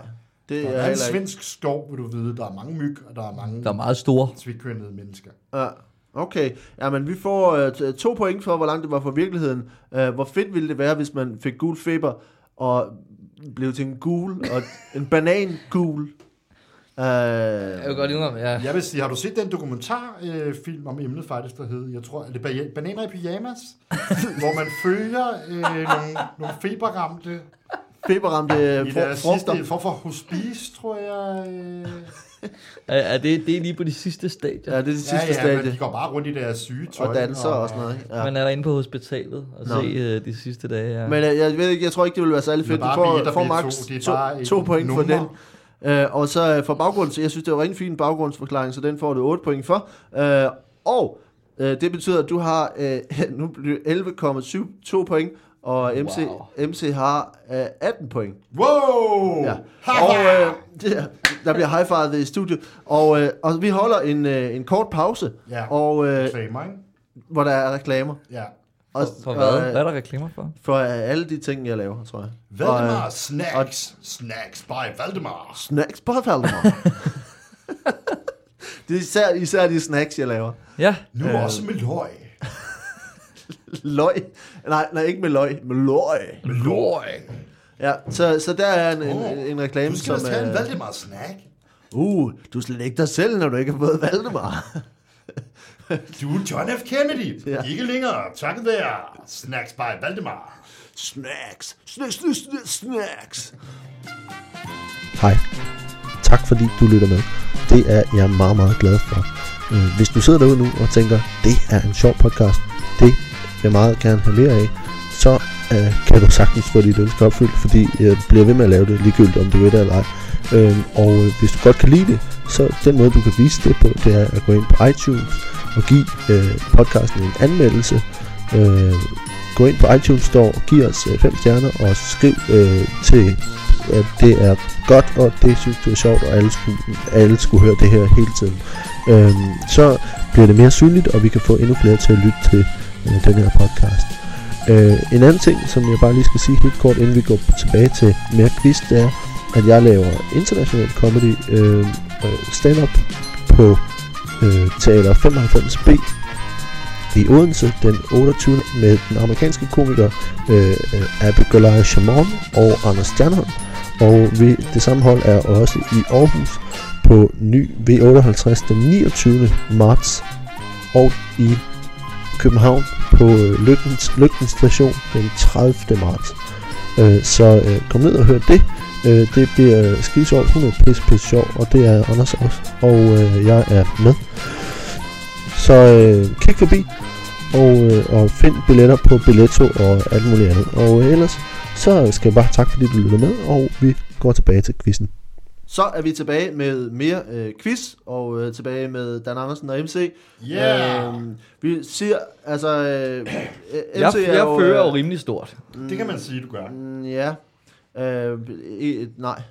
det
Der
er
er en
heller ikke...
svensk skov, vil du vide. Der er mange myg, og der er mange
Der er meget store.
svitkønnede mennesker.
Ja, okay. Jamen, vi får øh, t- to point for, hvor langt det var fra virkeligheden. Øh, hvor fedt ville det være, hvis man fik gul feber og blev til en gul og en banan-gul? Øh,
Jeg vil godt indrømme, ja.
Jeg vil sige, har du set den dokumentarfilm øh, film om emnet faktisk, der hed, jeg tror, er det Ba- Bananer i Pyjamas? hvor man følger øh, nogle, nogle feberramte
feberramte
i
fr-
deres sidste,
Øh, frugter.
en form for hospice, tror jeg. Øh.
Er, er det, det er lige på de sidste stadier.
Ja, det er det sidste
ja, ja, men
stadie.
de går bare rundt i deres syge tøj.
Og danser og sådan noget. Ikke?
Ja.
Ja.
Man er derinde på hospitalet og
Nå.
se øh, de sidste dage. Ja.
Men øh, jeg ved ikke, jeg tror ikke, det ville være særlig
Det er
fedt. Du
bare
får,
B1 og
får
B2,
max
det er
to,
bare
to
et
point for den.
nummer.
Øh, og så øh, for baggrund, så jeg synes, det var en fin baggrundsforklaring, så den får du 8 point for. Øh, og øh, det betyder, at du har øh, nu bliver det 11,72 point, og MC, wow. MC har øh, 18 point.
Wow!
Ja.
Ja.
Og øh, det, der bliver high i studiet. Og, øh, og vi holder en, øh, en kort pause,
Ja.
og, øh,
Reklamer, ikke?
hvor der er reklamer.
Ja.
Og,
For, for hvad?
øh,
Hvad er der reklamer for?
For øh, alle de ting, jeg laver, tror jeg. øh, Og,
Valdemar Snacks. Snacks by Valdemar.
Snacks på Valdemar. det er især, især de snacks, jeg laver.
Ja,
Nu øh. også med løg.
Løg. Nej, nej, ikke med løg. Med løg.
Med løg.
Ja, så, så der er en, en,
Åh,
en, en reklame,
Du skal da
som... øh,
tage en
er-
Valdemar Snack.
uh, du er slet ikke dig selv, når du ikke har fået Valdemar.
Du er John F. Kennedy.
Ja.
Ja. Ikke længere. Takket være Snacks by Valdemar.
snacks. Snacks, snacks, snacks, snacks.
Hej. Tak fordi du lytter med. Det er jeg meget, meget glad for. Øh, Hvis du sidder derude nu og tænker, det er en sjov podcast, det vil jeg meget gerne have mere af, så øh, kan du sagtens få dit ønske opfyldt, fordi jeg bliver ved med at lave det, ligegyldigt om du ved det eller ej. Øh, Og øh, hvis du godt kan lide det, så den måde du kan vise det på, det er at gå ind på iTunes og give øh, podcasten en anmeldelse. Øh, Gå ind på iTunes Store, giv os 5 stjerner og skriv øh, til, at det er godt, og det synes du er sjovt, og alle skulle, alle skulle høre det her hele tiden. Øhm, så bliver det mere synligt, og vi kan få endnu flere til at lytte til øh, den her podcast. Øh, en anden ting, som jeg bare lige skal sige helt kort, inden vi går tilbage til mere quiz, det er, at jeg laver international comedy øh, øh, stand-up på øh, Teater 95B i Odense den 28. med den amerikanske komiker øh, øh, Abigail Shamon og Anders Stjernholm. Og vi, det samme hold er også i Aarhus på ny V58 den 29. marts og i København på øh, Lygtens, Lygtens station den 30. marts. Øh, så øh, kom ned og hør det. Øh, det bliver skidesjovt, 100 pis, pis sjov, og det er Anders også, og øh, jeg er med. Så øh, kig forbi og, øh, og find billetter på Billetto og alt muligt andet. Og øh, ellers så skal jeg bare tak fordi du lytter med, og vi går tilbage til quizzen.
Så er vi tilbage med mere øh, quiz, og øh, tilbage med Dan Andersen og MC.
Yeah.
Øhm, vi siger, altså... Øh, MC
jeg,
er
jeg
jo,
fører
øh,
jo rimelig stort.
Det kan man sige, du gør.
Mm, Ja. Øh, øh, nej.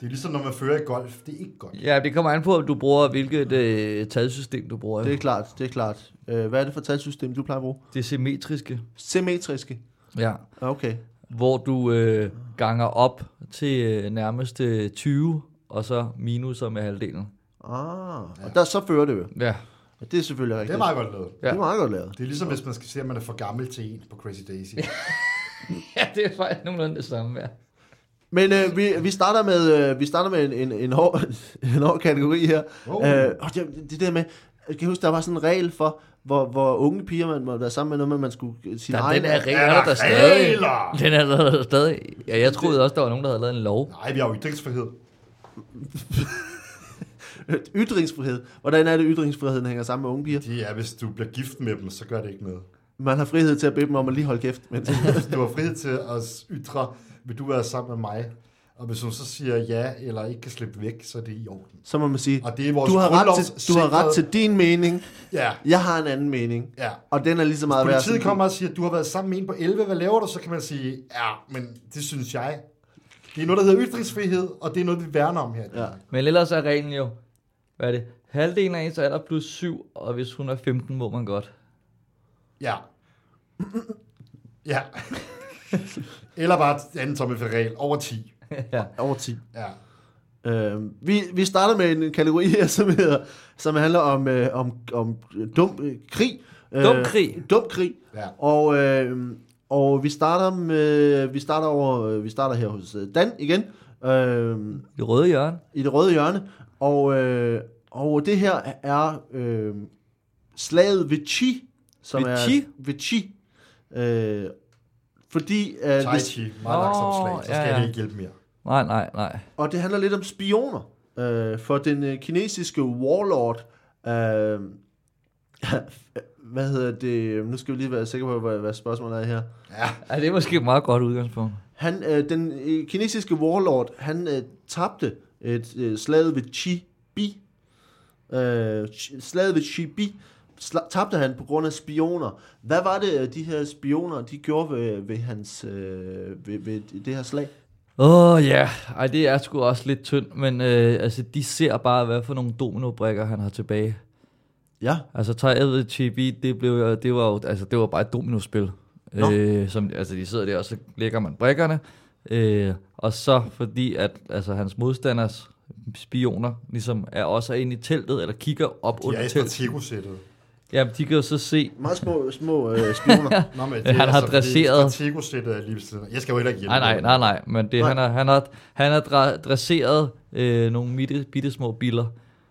Det er ligesom, når man fører i golf. Det er ikke godt.
Ja, det kommer an på, om du bruger, hvilket øh, talsystem du bruger.
Det er
Det,
klart, det er klart. Øh, hvad er det for talsystem, du plejer at bruge?
det symmetriske.
Symmetriske.
Ja.
Ah, Okay.
Hvor du øh, ganger op til øh, nærmest øh, 20, og så minuser med halvdelen.
Ah, og der så fører det jo.
Ja.
Og det er selvfølgelig rigtigt.
Det er meget godt lavet.
ja. det er meget godt lavet.
Det er ligesom, hvis man skal se, at man er for gammel til en på Crazy Daisy.
ja, det er faktisk nogenlunde det samme, ja.
Men øh, vi, vi starter med, øh, vi starter med en, en, en, hård, en hård kategori her. Oh.
Oh.
Øh, og det, det der med, jeg kan huske, der var sådan en regel for, hvor, hvor unge piger man måtte være sammen med, når man- man skulle øh, sin
Der,
egen...
den er
Er
regler,
der
der stadig.
regler?
Den er der stadig. Ja, jeg troede også, der var nogen, der havde lavet en lov.
Nej, vi har jo ytringsfrihed.
øh, Ytringsfrihed. Hvordan er det, ytringsfriheden hænger sammen med unge piger?
Det er, hvis du bliver gift med dem, så gør det ikke noget.
Man har frihed til at bede dem om at lige holde kæft. Men,
Hvis du har frihed til at ytre, vil du være sammen med mig? Og hvis hun så siger ja, eller ikke kan slippe væk, så er det i orden.
så må man sige,
Og det er vores
du har, ret til, du har ret
grundlovssikrede-
til din mening,
Ja,
jeg har en anden mening.
ja.
Og den er lige så meget værd.
Politiet
som-
kommer og siger, at du har været sammen med en på 11, hvad laver du? Så kan man sige, ja, men det synes jeg. Det er noget, der hedder ytringsfrihed, og det er noget, vi værner om her.
Ja.
Men ellers er reglen jo, hvad er det? Halvdelen af ens alder plus 7, og hvis hun er 15, må man godt.
Ja. ja. Eller bare anden tommelferal over 10.
ja.
Over 10.
Ja.
Øh, vi, vi starter med en kategori her, som, hedder, som handler om, øh, om, om dum øh, krig. Øh,
Dum krig.
Dum krig.
Ja.
Og, øh, og vi starter med, vi starter over, øh, vi starter her hos øh, Dan igen, øh,
Det røde hjørne.
i det røde hjørne. Og, øh, og det her er øh, slaget ved Chi, som
Ved
er
Chi?
ved Chi. Øh, fordi øh,
Tai
hvis,
Chi, meget langt
Åh,
slag, så skal
ja,
ja,
ja.
det ikke hjælpe mere.
Nej, nej, nej.
Og det handler lidt om spioner. Øh, for den øh, kinesiske warlord, øh, hvad hedder det, nu skal vi lige være sikre på, hvad, hvad spørgsmålet er her.
Ja,
Ja, det er måske et meget godt udgangspunkt.
Han, øh, den øh, kinesiske warlord, han øh, tabte et øh, slaget ved Chi Bi. Øh, Chi- slaget ved Chi Bi sla- tabte han på grund af spioner. Hvad var det, øh, de her spioner, de gjorde ved, ved, hans, øh, ved, ved det her slag?
Åh oh, ja, yeah. ej det er sgu også lidt tyndt, men øh, altså de ser bare, hvad for nogle dominobrikker han har tilbage.
Ja,
Altså taget ved Chibi, det, blev, jo- det var jo altså, det var bare et dominospil.
Nå.
Øh, som, altså de sidder der, og så lægger man brikkerne. Øh, og så fordi, at altså, hans modstanders spioner ligesom er også inde i teltet, eller kigger op
de er
under
efter
teltet.
Tigo-sættet.
Ja, de kan jo så se,
meget små, små øh, spioner.
Nå, men altså-
Han har dresseret-
Tigo-sættet er lige ved siden af. Jeg skal jo heller ikke hjælpe.
Nej, nej, nej, nej, men det,
Nej.
han har, han har, han har dra- dresseret øh, nogle bitte, bitte små biller,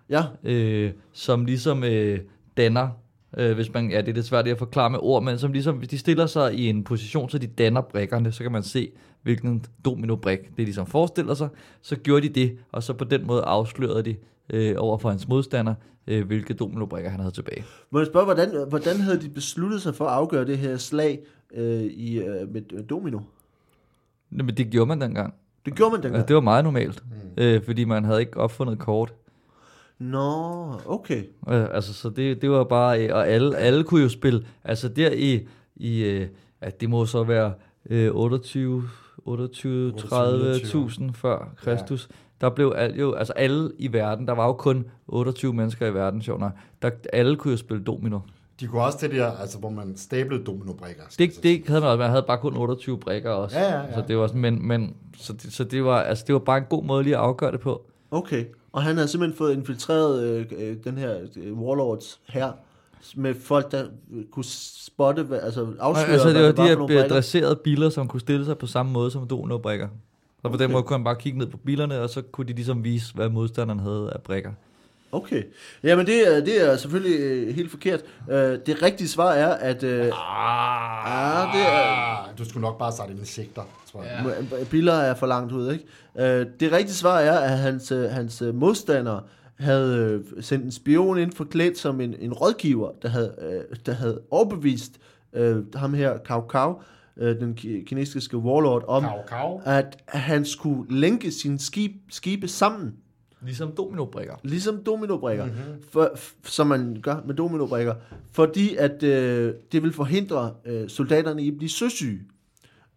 ja,
øh, som ligesom øh, danner, øh, hvis man, ja, det er lidt svært lige at forklare med ord, men som ligesom, hvis de stiller sig i en position, så de danner brikkerne, så kan man se, hvilken domino-brik det ligesom forestiller sig, så gjorde de det, og så på den måde afslørede de øh, over for hans modstander, øh, hvilke domino-brikker han havde tilbage.
Må jeg spørge, hvordan, hvordan havde de besluttet sig for at afgøre det her slag øh, i, øh, med øh, domino?
Nå, Men det gjorde man dengang.
Det gjorde man dengang.
Altså, det var meget normalt, øh, fordi man havde ikke opfundet kort.
Nå, okay.
Øh, altså, så det, det var bare... Øh, og alle, alle kunne jo spille... Altså, der i... i øh, at det må så være øh, 28... 28 30.000 før Kristus, ja. der blev alt jo, altså alle i verden, der var jo kun 28 mennesker i verden, sjovt nok, der, alle kunne jo spille domino.
De kunne også det der, altså, hvor man stablede dominobrikker. skal jeg så
Det, det havde man også, man havde bare kun 28 brækker også.
Ja, ja, ja.
Så det var sådan, men, men så, det, så det, var, altså, det var bare en god måde lige at afgøre det på.
Okay. Og han havde simpelthen fået infiltreret øh, øh, den her øh, warlords her med folk, der øh, kunne spotte, hvad, altså afsløre,
Altså, det
hvad
var
det var for
de
nogle
her
brikker.
dresserede biler, som kunne stille sig på samme måde som donobrikker. Så på okay. den måde kunne han bare kigge ned på bilerne, og så kunne de ligesom vise, hvad modstanderen havde af brikker.
Okay. Jamen, det er, det er selvfølgelig øh, helt forkert. Øh, det rigtige svar er, at øh,
Ah,
det
er... Du skulle nok bare sætte insekter, tror jeg.
Ja. Biller er for langt ud, ikke? Øh, det rigtige svar er, at hans, øh, hans øh, modstander havde øh, sendt en spion ind forklædt som en, en rådgiver, der havde, øh, der havde overbevist øh, ham her, Cao Cao, øh, den ki- kinesiske warlord, om,
Kav, kav.
at han skulle lænke sine skib, skibe sammen,
Ligesom dominobrikker.
ligesom dominobrikker,
Mhm.
mm-hmm. for, f- som man gør med dominobrikker, fordi at øh, det vil forhindre øh, soldaterne i at blive søsyge.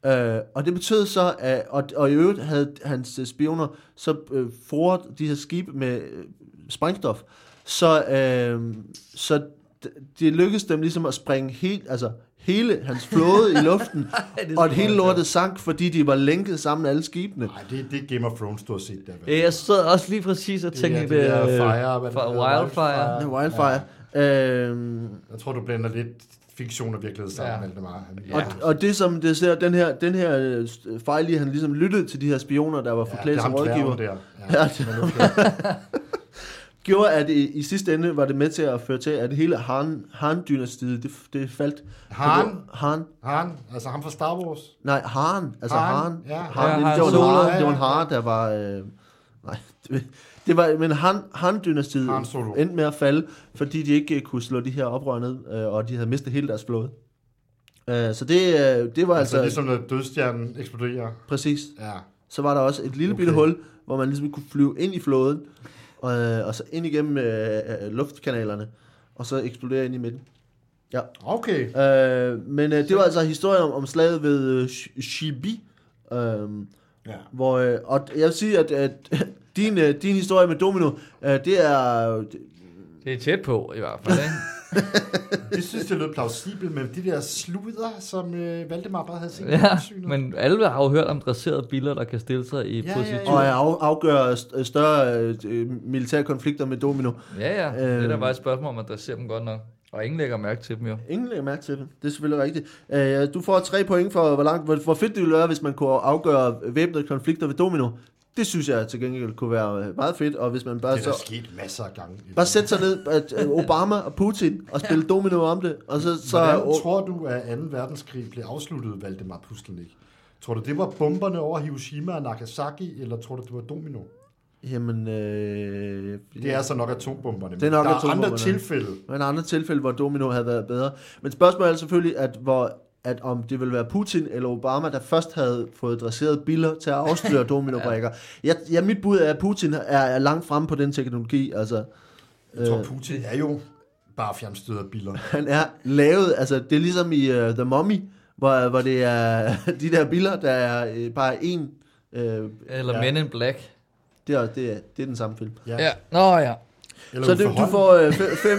Øh, og det betød så, at, og, og i øvrigt havde hans øh, spioner så øh, foret de her skibe med øh, sprængstof, så, øh, så d- det lykkedes dem ligesom at springe helt, altså hele hans flåde i luften,
det er
og
så
hele
meget
lortet sank, fordi de var lænket sammen alle skibene.
Nej, det, det er Game of Thrones, du har set der. vel?
Øh, Jeg sad også lige præcis og
er
tænkte,
det der
øh,
fire, hvad det
fra
hedder,
Wildfire.
wildfire.
Ja, Wildfire. Ja. Øh,
Jeg tror, du blander lidt fiktion og virkelighed sammen,
Ja.
ja. Valdemar.
Og, og det som det ser, den her, den her øh, fejl i, at han ligesom lyttede til de her spioner, der var forklædt ja, som rådgiver,
Der. Ja,
Ja,
ja,
det-
det er okay.
gjorde, at i, i sidste ende var det med til at føre til, at hele Han, Han-dynastiet, det, det faldt.
Han?
Han?
Han, altså ham fra Star Wars.
Nej, Han. Altså
Han,
Han.
ja.
Han,
Ja,
det,
Han
det, var en
Solo.
hare, det var en
Ja,
hare, der var... Øh, nej, det, det var, men Han, Han-dynastiet
Han Solo.
endte med at falde, fordi de ikke øh, kunne slå de her oprør ned, øh, og de havde mistet hele deres flåde. Øh, så det, øh, det var altså...
Altså,
altså
ligesom når dødstjernen eksploderer.
Præcis.
Ja.
så var der også et lille okay. bitte hul, hvor man ligesom kunne flyve ind i flåden, og, og så ind igennem øh, øh, luftkanalerne, og så eksplodere ind i midten.
Okay.
Øh, men øh, det var altså historien om, om slaget ved øh, Sh- Shibi, øh,
Ja.
Hvor, øh, og jeg vil sige, at, at din, øh, din historie med Domino, øh, det er...
Det er tæt på, i hvert fald. Ikke?
Jeg synes, det lød plausibelt med de der sluder, som øh, Valdemar bare havde set. i
ja,
fjernsynet.
men alle har jo hørt om dresserede biler, der kan stille sig i
Ja, ja,
position.
Og jeg af, afgør st- større øh, øh, militære konflikter med Domino.
Ja, ja.
Øh.
Det er da
Øhm.
bare et spørgsmål om at dressere dem godt nok. Og ingen lægger mærke til dem jo.
Ingen lægger mærke til det. Det er selvfølgelig rigtigt. Øh, du får tre point for, hvor, langt, hvor, hvor fedt det ville være, hvis man kunne afgøre væbnede konflikter ved Domino. Det synes jeg til gengæld kunne være øh, meget fedt, og hvis man bare
Det er der
så...
sket masser af gange.
Bare sætte sig ned, at øh, Obama og Putin, og spille domino om det, og så... så
Hvordan tror du, at 2. verdenskrig blev afsluttet, Valdemar Pustelnik? Tror du, det var bomberne over Hiroshima og Nagasaki, eller tror du, det var domino?
Jamen, øh,
Det er så nok atombomberne, men
Det er nok
der er
atombomberne.
andre tilfælde.
Men andre tilfælde, hvor domino havde været bedre. Men spørgsmålet er selvfølgelig, at, hvor, at om det ville være Putin eller Obama, der først havde fået dresseret biller til at afsløre dominobrækker. ja. ja, mit bud er, at Putin er, er langt fremme på den teknologi. Altså,
Jeg
Øh.
tror, Putin er jo bare fjernstøder biler.
han er lavet, altså det er ligesom i uh, The Mummy, hvor, hvor det er de der biller, der er øh, bare en. Øh,
Eller
Ja.
Men in Black.
det, er, det, er, det er den samme film.
Ja.
Ja. Nå ja.
Eller
Så det,
ude for
du
hånden.
får 5 øh, fe- fem,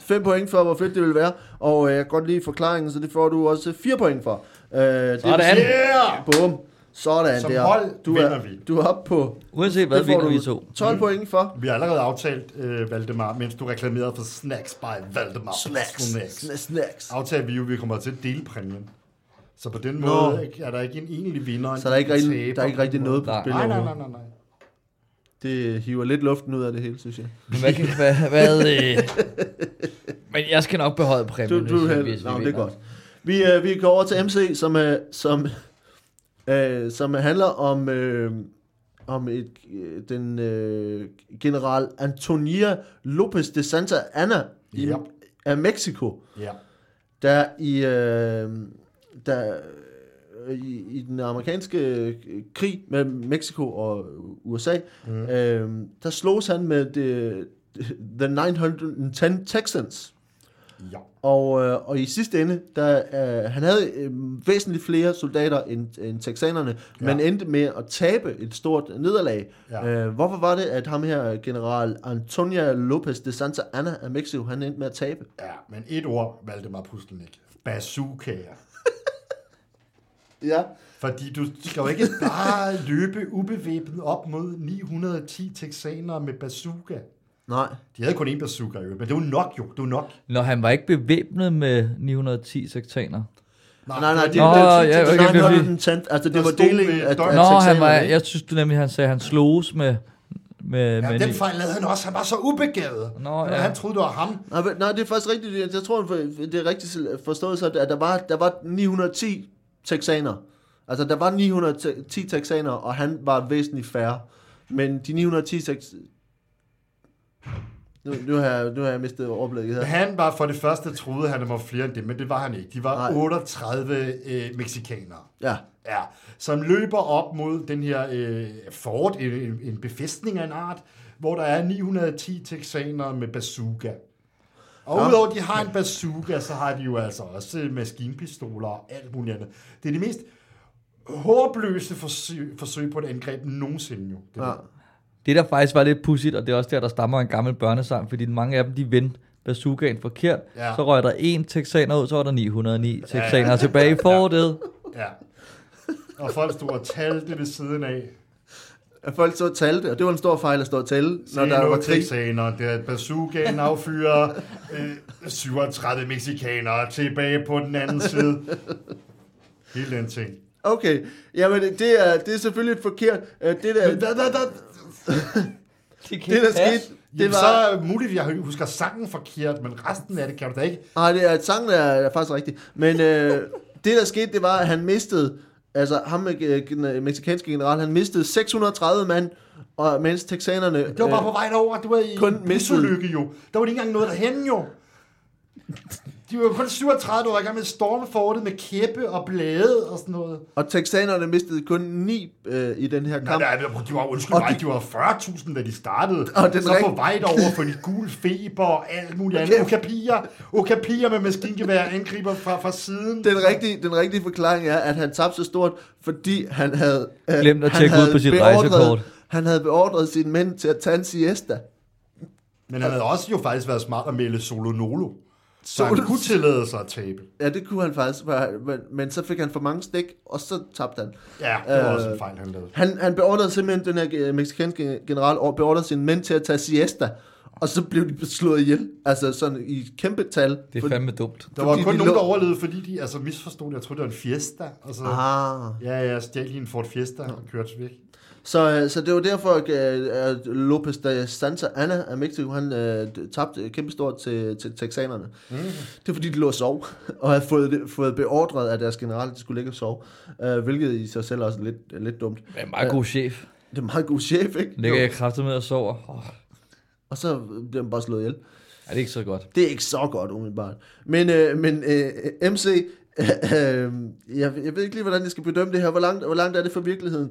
fem point for, hvor fedt det vil være. Og øh, jeg kan godt lide forklaringen, så det får du også 4 point for. Øh, det vil
Sådan.
sige-
Yeah!
Bum. Sådan
Som
der.
hold
du
vinder
er,
vi. Mm.
Du er oppe på
Uanset hvad
det får
vinder
du
vi to.
12 point for.
Vi har allerede aftalt, øh, Valdemar, mens du reklamerede for Snacks by Valdemar. Snacks.
Snacks. Snacks.
Aftalte vi jo, at vi kommer til at dele præmien. Så på den
Nå.
måde ikke- er der ikke en egentlig vinder.
Så der er ikke rigtig, der er ikke rigtig noget på
Nej.
spil
Nej, nej,
overhovedet.
nej, nej, nej.
Det hiver lidt luften ud af det hele, synes jeg.
Men Hvad, kan, hvad, hvad øh... Men jeg skal nok beholde præmien,
Du, du,
hvis,
held-
hvis vi
Nå, det er
vinder.
godt. Vi, øh, vi går over til MC, som, øh, som, øh, som handler om, øh, om et, øh, den øh, general Antonia Lopez de Santa Anna i,
Ja.
af Mexico.
Ja.
der i, øh, der, øh, i, i den amerikanske øh, krig mellem Mexico og USA, mm. øh, der slogs han med det, The 910 Texans.
Ja.
Og, øh, og i sidste ende, der, øh, han havde øh, væsentligt flere soldater end, end texanerne, ja. men endte med at tabe et stort nederlag.
Ja.
Øh, hvorfor var det, at ham her, general Antonia Lopez de Santa Anna af Mexico, han endte med at tabe?
Ja, men et ord valgte mig Pustelnik. Bazookaer.
Ja.
Fordi du skal jo ikke bare løbe ubevæbnet op mod 910 texanere med bazooka.
Nej.
De havde kun én bazooka, jo, men det var nok jo, det var nok.
Når han var ikke bevæbnet med 910 sektaner.
Nej, nej, nej, det
Nå,
er
ja, okay, det er
den tændt, altså det
Der
var
stod
delingen
med
af, af
døgn.
Nå, han
texanerne,
var,
ikke?
jeg synes du nemlig, han sagde, at han sloges med... med,
Ja,
med
den fejl lavede han også. Han var så ubegavet.
Nå,
Men
ja.
Han troede, det var ham.
Nej, men- nej, det er faktisk rigtigt, det- jeg tror, det er rigtigt forstået, så at der var, der var 910 texaner. Altså, der var 910 texaner, og han var væsentligt færre. Men de 910 tex... Nu, nu, har jeg, nu har jeg mistet overblikket her.
Han var for det første troede, han at han var flere end det, men det var han ikke. De var
Nej.
38 øh, mexikanere.
Ja,
Ja, som løber op mod den her øh, fort, en, en- en befæstning af en art, hvor der er 910 texanere med bazooka. Og
Ja.
ja. udover at de har en bazooka, så har de jo altså også øh, maskinpistoler og alt muligt andet. Det er det mest håbløse forsøg, forsøg på et angreb nogensinde jo. Det
ja.
ja.
Det der faktisk var lidt pudsigt, og det er også der, der stammer en gammel børnesang, fordi mange af dem, de vendte bazookaen forkert. Ja.
Ja.
Så røg der en texaner ud, så var der 909 texaner ja. tilbage i fortet.
ja. Og folk stod og talte ved siden af.
At folk så talte, og det var en stor fejl at stå og tælle, når der var krig.
Texaner, det er bazookaen affyrer øh, 37 mexikanere tilbage på den anden side. Hele den ting.
Okay, jamen det er, det er selvfølgelig forkert. Øh, Det der,
Men da, da, da,
Det,
det der skete,
det
det var...
var... Så muligt, jeg husker sangen forkert, men resten af det kan du da ikke.
Nej, Ah, det er, sangen er, er faktisk rigtig. Men øh, det, der skete, det var, at han mistede... Altså, ham med øh, den mexikanske general, han mistede 630 mand, og, mens texanerne...
Øh,
øh,
Det var bare på vej derover, du var i
kun
en
misset.
busulykke jo. Der var ikke engang noget derhen jo. De var kun 37 år i gang med stormfortet med kæppe og blade og sådan noget.
Og texanerne mistede kun 9 øh, i den her
Nej,
kamp.
nej, de var, undskyld
Og
mig,
de-
de var 40.000, da de startede.
Og den
så
rigtig-
på vej derover for de gule feber og alt muligt andet. Okapier, okapier med maskingevær angriber fra, fra siden.
Den rigtige, den rigtige forklaring er, at han tabte så stort, fordi han havde... Øh,
Glemt at
han
tjekke ud
havde
på sit
beordret-
rejsekort.
Han havde beordret sine mænd til at tage en siesta.
Men han havde også jo faktisk været smart at melde Solo Nolo. Så han
Solo-
kunne tillade sig at tabe.
Ja, det kunne han faktisk, men- men, men så fik han for mange stik, og så tabte han.
Ja, det var
Øh,
også en fejl, han lavede.
Han, han beordrede simpelthen den her øh, mexikanske general, og beordrede sine mænd til at tage siesta, og så blev de slået ihjel, altså sådan i et kæmpe tal.
Det er fandme dumt.
Der var
fordi
kun
de
nogen,
lå-
der overlevede, fordi de altså, misforstod det. Jeg troede, det var en fiesta. Og så,
Ah.
Ja, jeg stjal lige en Ford Fiesta og kørte væk.
Så, øh, så det var derfor, at, øh, at Lopez de Santa Anna af Mexico, han øh, tabte kæmpestort til, til texanerne. Mm. Det er fordi, de lå og sov, og havde fået, det- fået beordret af deres general, at de skulle ligge og sove, øh, hvilket i sig selv også er lidt, er lidt dumt.
Det er en meget god chef.
Det er en meget god chef, ikke?
Ligger jeg kraftet med og sover. Oh,
Og så blev han bare slået ihjel.
er det ikke så godt?
Det er ikke så godt, umiddelbart. Men, øh, men øh, MC, øh, øh, jeg, jeg ved ikke lige, hvordan jeg skal bedømme det her. Hvor langt, hvor langt er det fra virkeligheden?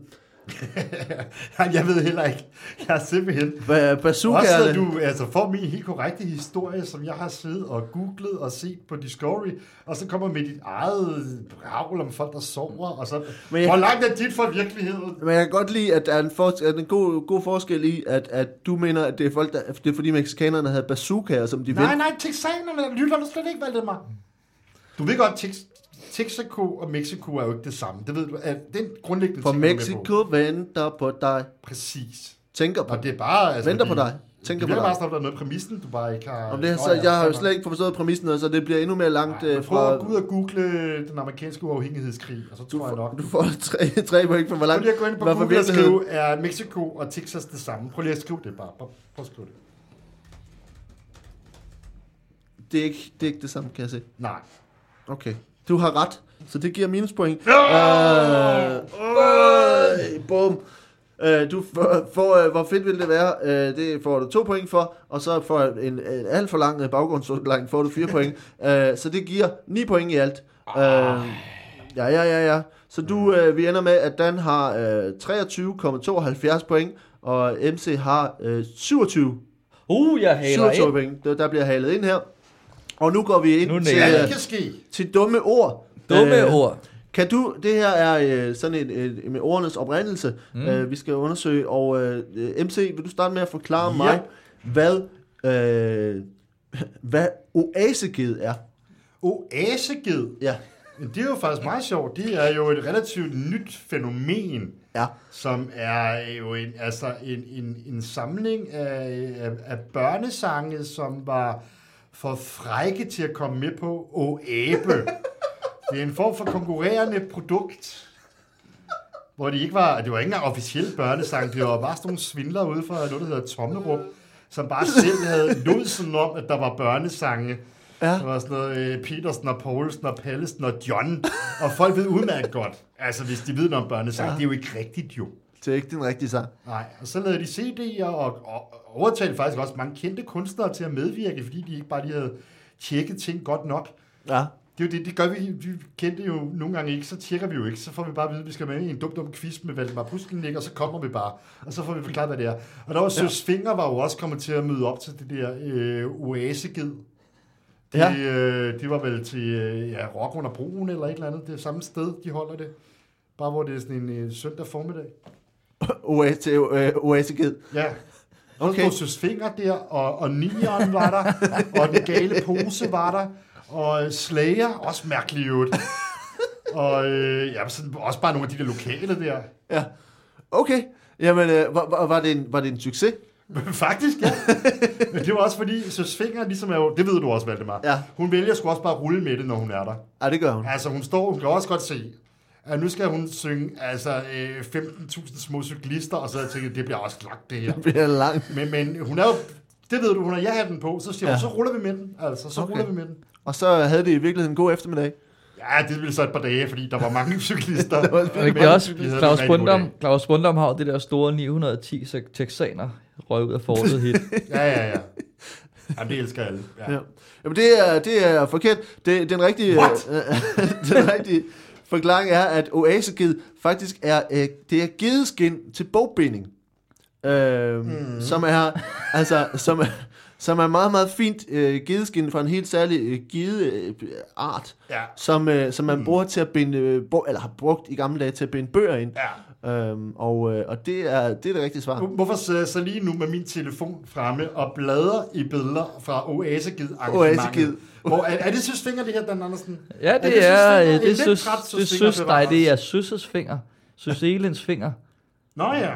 jeg ved heller ikke. Jeg er simpelthen...
Ba-
Også
Bazookaerne,
at du altså, får min helt korrekte historie, som jeg har siddet og googlet og set på Discovery, og så kommer med dit eget bragl om folk, der sover, og så...
Men jeg-
Hvor langt er dit fra virkeligheden?
Men jeg kan godt lide, at der er en, for, at der er en god, god forskel i, at, at du mener, at det er, folk, der, det er fordi mexikanerne havde bazookaer, som de
Nej,
vendte.
nej, texanerne, lytter du slet ikke, Valdemar? Du ved godt, Tex Texaco og Mexico er jo ikke det samme. Det ved du. At den grundlæggende
For
ting, jeg er med på.
Mexico venter på dig,
Præcis.
tænker på
Og det er bare... Altså,
Venter på
fordi-
dig. Tænker
det
på
bliver
dig.
bare sådan, at der er noget i præmissen, du bare ikke har...
Om det,
Nå
så,
ja,
jeg har jo
fair
slet
nok.
ikke forstået præmissen, og så det bliver endnu mere langt
Nej,
øh,
men prøv
fra...
at gå ud og google den amerikanske uafhængighedskrig, og så tror jeg nok.
Du får tre, tre point for, hvor
Prøv
langt...
lige at gå ind på
hvad for
Google og
virkeligheden-
skrive, er Mexico og Texas det samme? Prøv lige at skrive det bare. Prøv, prøv at skrive det.
Det er, ikke, det er ikke det samme, kan jeg se.
Nej.
Okay. Du har ret, så det giver minuspoint. Øh, øh, bum. Øh, du får, får, øh, hvor fedt ville det være, øh, det får du to point for, og så for en, en alt for lang øh, baggrundsudlægning får du fire point. Øh, så det giver ni point i alt. Øh,
Ah.
ja, ja, ja, ja. Så
Mm.
du, øh, vi ender med, at Dan har øh, 23,72 point, og MC har øh, 27,
Uh, jeg haler
27
af.
point. Der, der bliver halet ind her. Og nu går vi ind
Nu
til,
nærer
Ja,
øh,
det kan ske.
til dumme ord.
Dumme
Øh,
ord.
kan du, det her er øh, sådan et, et, med ordenes oprindelse, mm. øh, vi skal undersøge, og øh, øh, MC, vil du starte med at forklare
Ja.
ja. mig, hvad, øh, hvad oaseged er?
Oaseged.
Ja,
Men Det er jo faktisk meget sjovt. Det er jo et relativt nyt fænomen,
ja.
som er jo en, altså en, en, en samling af, af, af børnesange, som var for frække til at komme med på Oabe. Det er en form for konkurrerende produkt, hvor det ikke var, det var ikke engang officiel børnesang, det var bare sådan nogle svindler ude fra noget, der hedder Tomlerum, som bare selv havde lodsen om, at der var børnesange.
Ja.
Der var sådan noget øh, Petersen og Poulsen og Pallesen og John, og folk ved udmærket godt, altså hvis de ved noget om børnesang, ja. det er jo ikke rigtigt jo.
Det er ikke den rigtige sang.
Nej, og så lavede de CD'er og, og overtalte faktisk også mange kendte kunstnere til at medvirke, fordi de ikke bare lige havde tjekket ting godt nok.
Ja.
Det er jo det, det gør vi, vi kendte jo nogle gange ikke, så tjekker vi jo ikke, så får vi bare at vide, at vi skal med i en dum dum quiz med Valdemar Puskelnik, og så kommer vi bare, og så får vi forklaret, hvad det er. Og der var Søs Finger var jo også kommet til at møde op til det der øh, oaseged. Det,
Ja.
ja. øh, det var vel til øh, ja, Rock under broen eller et eller andet, det er samme sted, de holder det. Bare hvor det er sådan en øh, søndag formiddag.
Oas, til, øh, oaseged.
Ja.
Okay.
Okay. Så stod Søs Finger der, og, og Nieren var der, og Den Gale Pose var der, og Slayer, også mærkeligt ud. Og øh, ja, sådan, også bare nogle af de der lokale der.
Ja. Okay. Jamen, øh, var, var, var, det en, var det en succes?
Men Faktisk, ja. Men det var også fordi, Søs Finger ligesom er jo, det ved du også, Valdemar.
Ja.
Hun vælger sgu også bare at rulle med det, når hun er der.
Ja, det gør hun.
Altså, hun står, hun kan også godt se, at nu skal hun synge altså, øh, 15.000 små cyklister, og så havde jeg tænkt, det bliver også klagt, det her.
Det bliver langt.
Men, men hun er jo, det ved du, hun har ja-hatten på, så siger ja.
Ja.
hun, så ruller vi med den, altså, så
Okay.
okay. ruller vi med den.
Og så havde det i virkeligheden en god eftermiddag.
Ja, det ville så et par dage, fordi der var mange cyklister.
var-
Men
Og det er også,
de havde en
Claus
rigtig god
Bundom, Claus Bundom har jo det der store 910 se- texaner røg ud af fortet hit.
dag. Ja, ja, ja. Jamen, det elsker alle. Ja.
Ja. Jamen, det er, det er forkert. Det, den rigtige,
What?
den rigtige forklaring er, at oaseged faktisk er, øh, det er gedeskin til bogbinding. Øh, mm. Som er, altså, som, er- som er meget, meget fint øh, gedeskin fra en helt særlig øh, gedeart,
Ja.
som, øh, som man bruger til at binde, øh, bo, eller har brugt i gamle dage til at binde bøger ind.
ja.
Øhm, og, øh, og det er det, er det rigtige svar.
Hvorfor sidder jeg så lige nu med min telefon fremme og bladrer i billeder fra oasegid
Oasegid.
arrangementet Hvor, er, er det søsfinger, det her, Dan Andersen?
Ja, det,
det
er,
søsfinger?
øh,
En
det
lidt
synes,
træt
det
søsfinger,
synes, nej,
var
det er Søsses finger. Søs Elens finger.
Nå ja,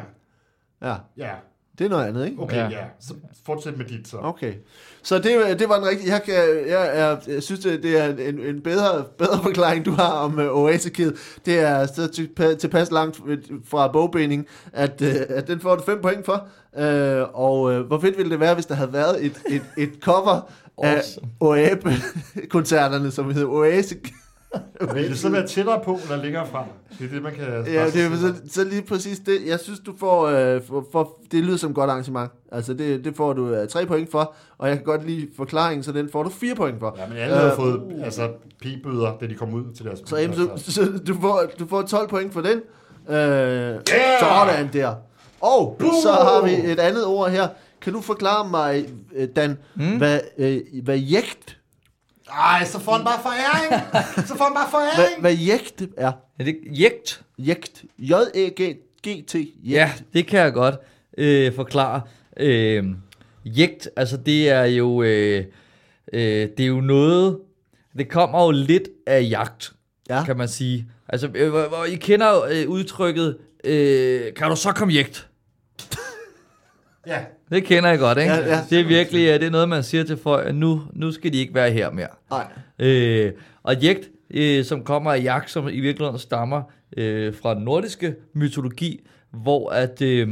Ja,
ja.
det er noget andet, ikke?
Okay,
Ja.
ja. ja. Så fortsæt med dit så.
Okay. Så det, det var den rigtige. Jeg, kan, jeg, jeg, jeg synes, det det er en, en bedre, bedere forklaring, du har om uh, Oasekid. Det er så tilpa- tilpas langt øh, fra bogbinding, at, uh, at den får du 5 point for. Uh, og uh, hvor fedt ville det være, hvis der havde været et, et, et cover
Awesome.
af OAB-koncerterne, som hedder Oasekid.
Vil det så være tættere på eller længere fra? Det er det, man kan...
Ja, det er så, så lige præcis det. Jeg synes, du får... Øh, for, for, det lyder som et godt arrangement. Altså, det, det får du øh, 3 point for, og jeg kan godt lide forklaringen, så den får du 4 point for.
Ja, men alle har
Øh,
fået altså, p-bøder, da de kom ud til deres... altså-
Så, jamen, så, så du, får, du får 12 point for den. Øh, yeah! Sådan der. Og Boom! så har vi et andet ord her. Kan du forklare mig, øh, Dan, mm? hvad, øh, hvad jægt
Ej, så får han bare foræring! så får han bare
hvad,
foræring!
hvad jægt er?
Er det jægt?
Jægt. J-E-G-G-T.
Ja, det kan jeg godt øh, forklare. Øh, jægt, altså det er jo øh, øh, det er jo noget, det kommer jo lidt af jagt,
Ja.
kan man sige. Altså, øh, hvor, hvor I kender jo, øh, udtrykket, øh, kan du så komme jægt?
Ja,
Det kender jeg godt, ikke?
Ja, ja.
Det er virkelig øh, det er noget, man siger til folk, at nu, nu skal de ikke være her mere.
Nej.
Øh, og jægt, øh, som kommer af jagt, som i virkeligheden stammer øh, fra den nordiske mytologi, hvor at øh,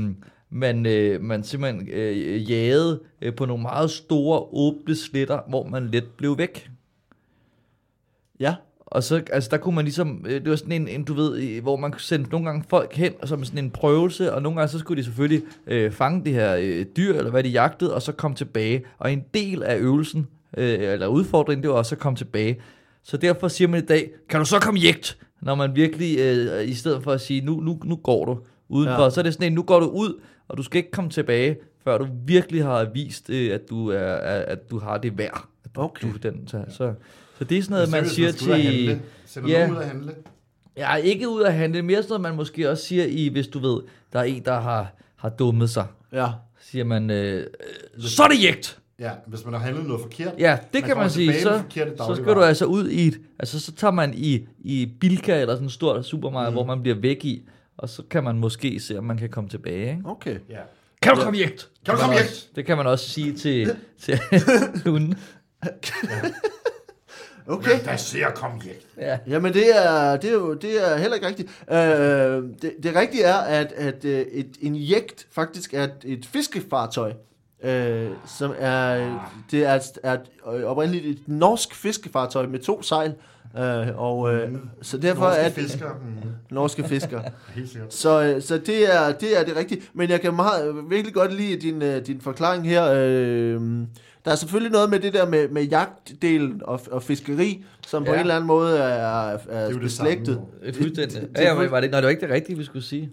man, øh, man simpelthen øh, jagede øh, på nogle meget store åbne sletter, hvor man let blev væk.
Ja.
Og så, altså der kunne man ligesom, øh, det var sådan en, en du ved, øh, hvor man sendte nogle gange folk hen, og som sådan en prøvelse, og nogle gange så skulle de selvfølgelig øh, fange det her øh, dyr, eller hvad de jagtede, og så komme tilbage. Og en del af øvelsen, øh, eller udfordringen, det var også at komme tilbage. Så derfor siger man i dag, kan du så komme jægt? Når man virkelig, øh, i stedet for at sige, nu, nu, nu går du udenfor,
Ja.
ja. så er det sådan en, nu går du ud, og du skal ikke komme tilbage, før du virkelig har vist, øh, at, du er, er- at du har det værd. At du-
Okay.
Du, den, så, så, så det er sådan noget, man
seriøst,
siger
skal ud at
til...
handle. Sender
Ja.
yeah. nogen ud at handle?
Ja, ikke ud at handle. Mere sådan noget, man måske også siger i, hvis du ved, der er en, der har, har dummet sig.
Ja.
Siger man, øh, øh, så er det jægt!
Ja, hvis man har handlet noget forkert.
Ja, det
Man
kan
kommer
man sige.
tilbage med
Så,
forkerte
så skal
dagligvarer.
du altså ud i et, altså så tager man i, i Bilka eller sådan en stor supermarked, mm. hvor man bliver væk i, og så kan man måske se, om man kan komme tilbage. Ikke?
Okay.
ja.
Kan du komme jægt?
Kan du komme
man
jægt?
også- Det kan man også sige til, til hunden.
Okay.
Men der ser kom hjem.
Ja.
Jamen det er, det er jo det er heller ikke rigtigt. Øh, det, det rigtige er, at, at øh, et, en jægt faktisk er et, et fiskefartøj, øh, som er, det er, et- er et, øh, oprindeligt et norsk fiskefartøj med to sejl. Øh, og øh, så derfor
Norske
er
at...
det
fiskere. Mm,
norske fiskere.
helt sikkert.
Så, øh, så det, er, det er det rigtige. Men jeg kan meget, virkelig godt lide din, øh, din forklaring her. Øh, der er selvfølgelig noget med det der med, med jagtdelen og, og fiskeri, som ja. på
Ja.
en eller anden måde er, er,
jo
er
det
beslægtet.
samme,
Et fuldstændig. Ja, men var det, nej, det var ikke det rigtige, vi skulle sige.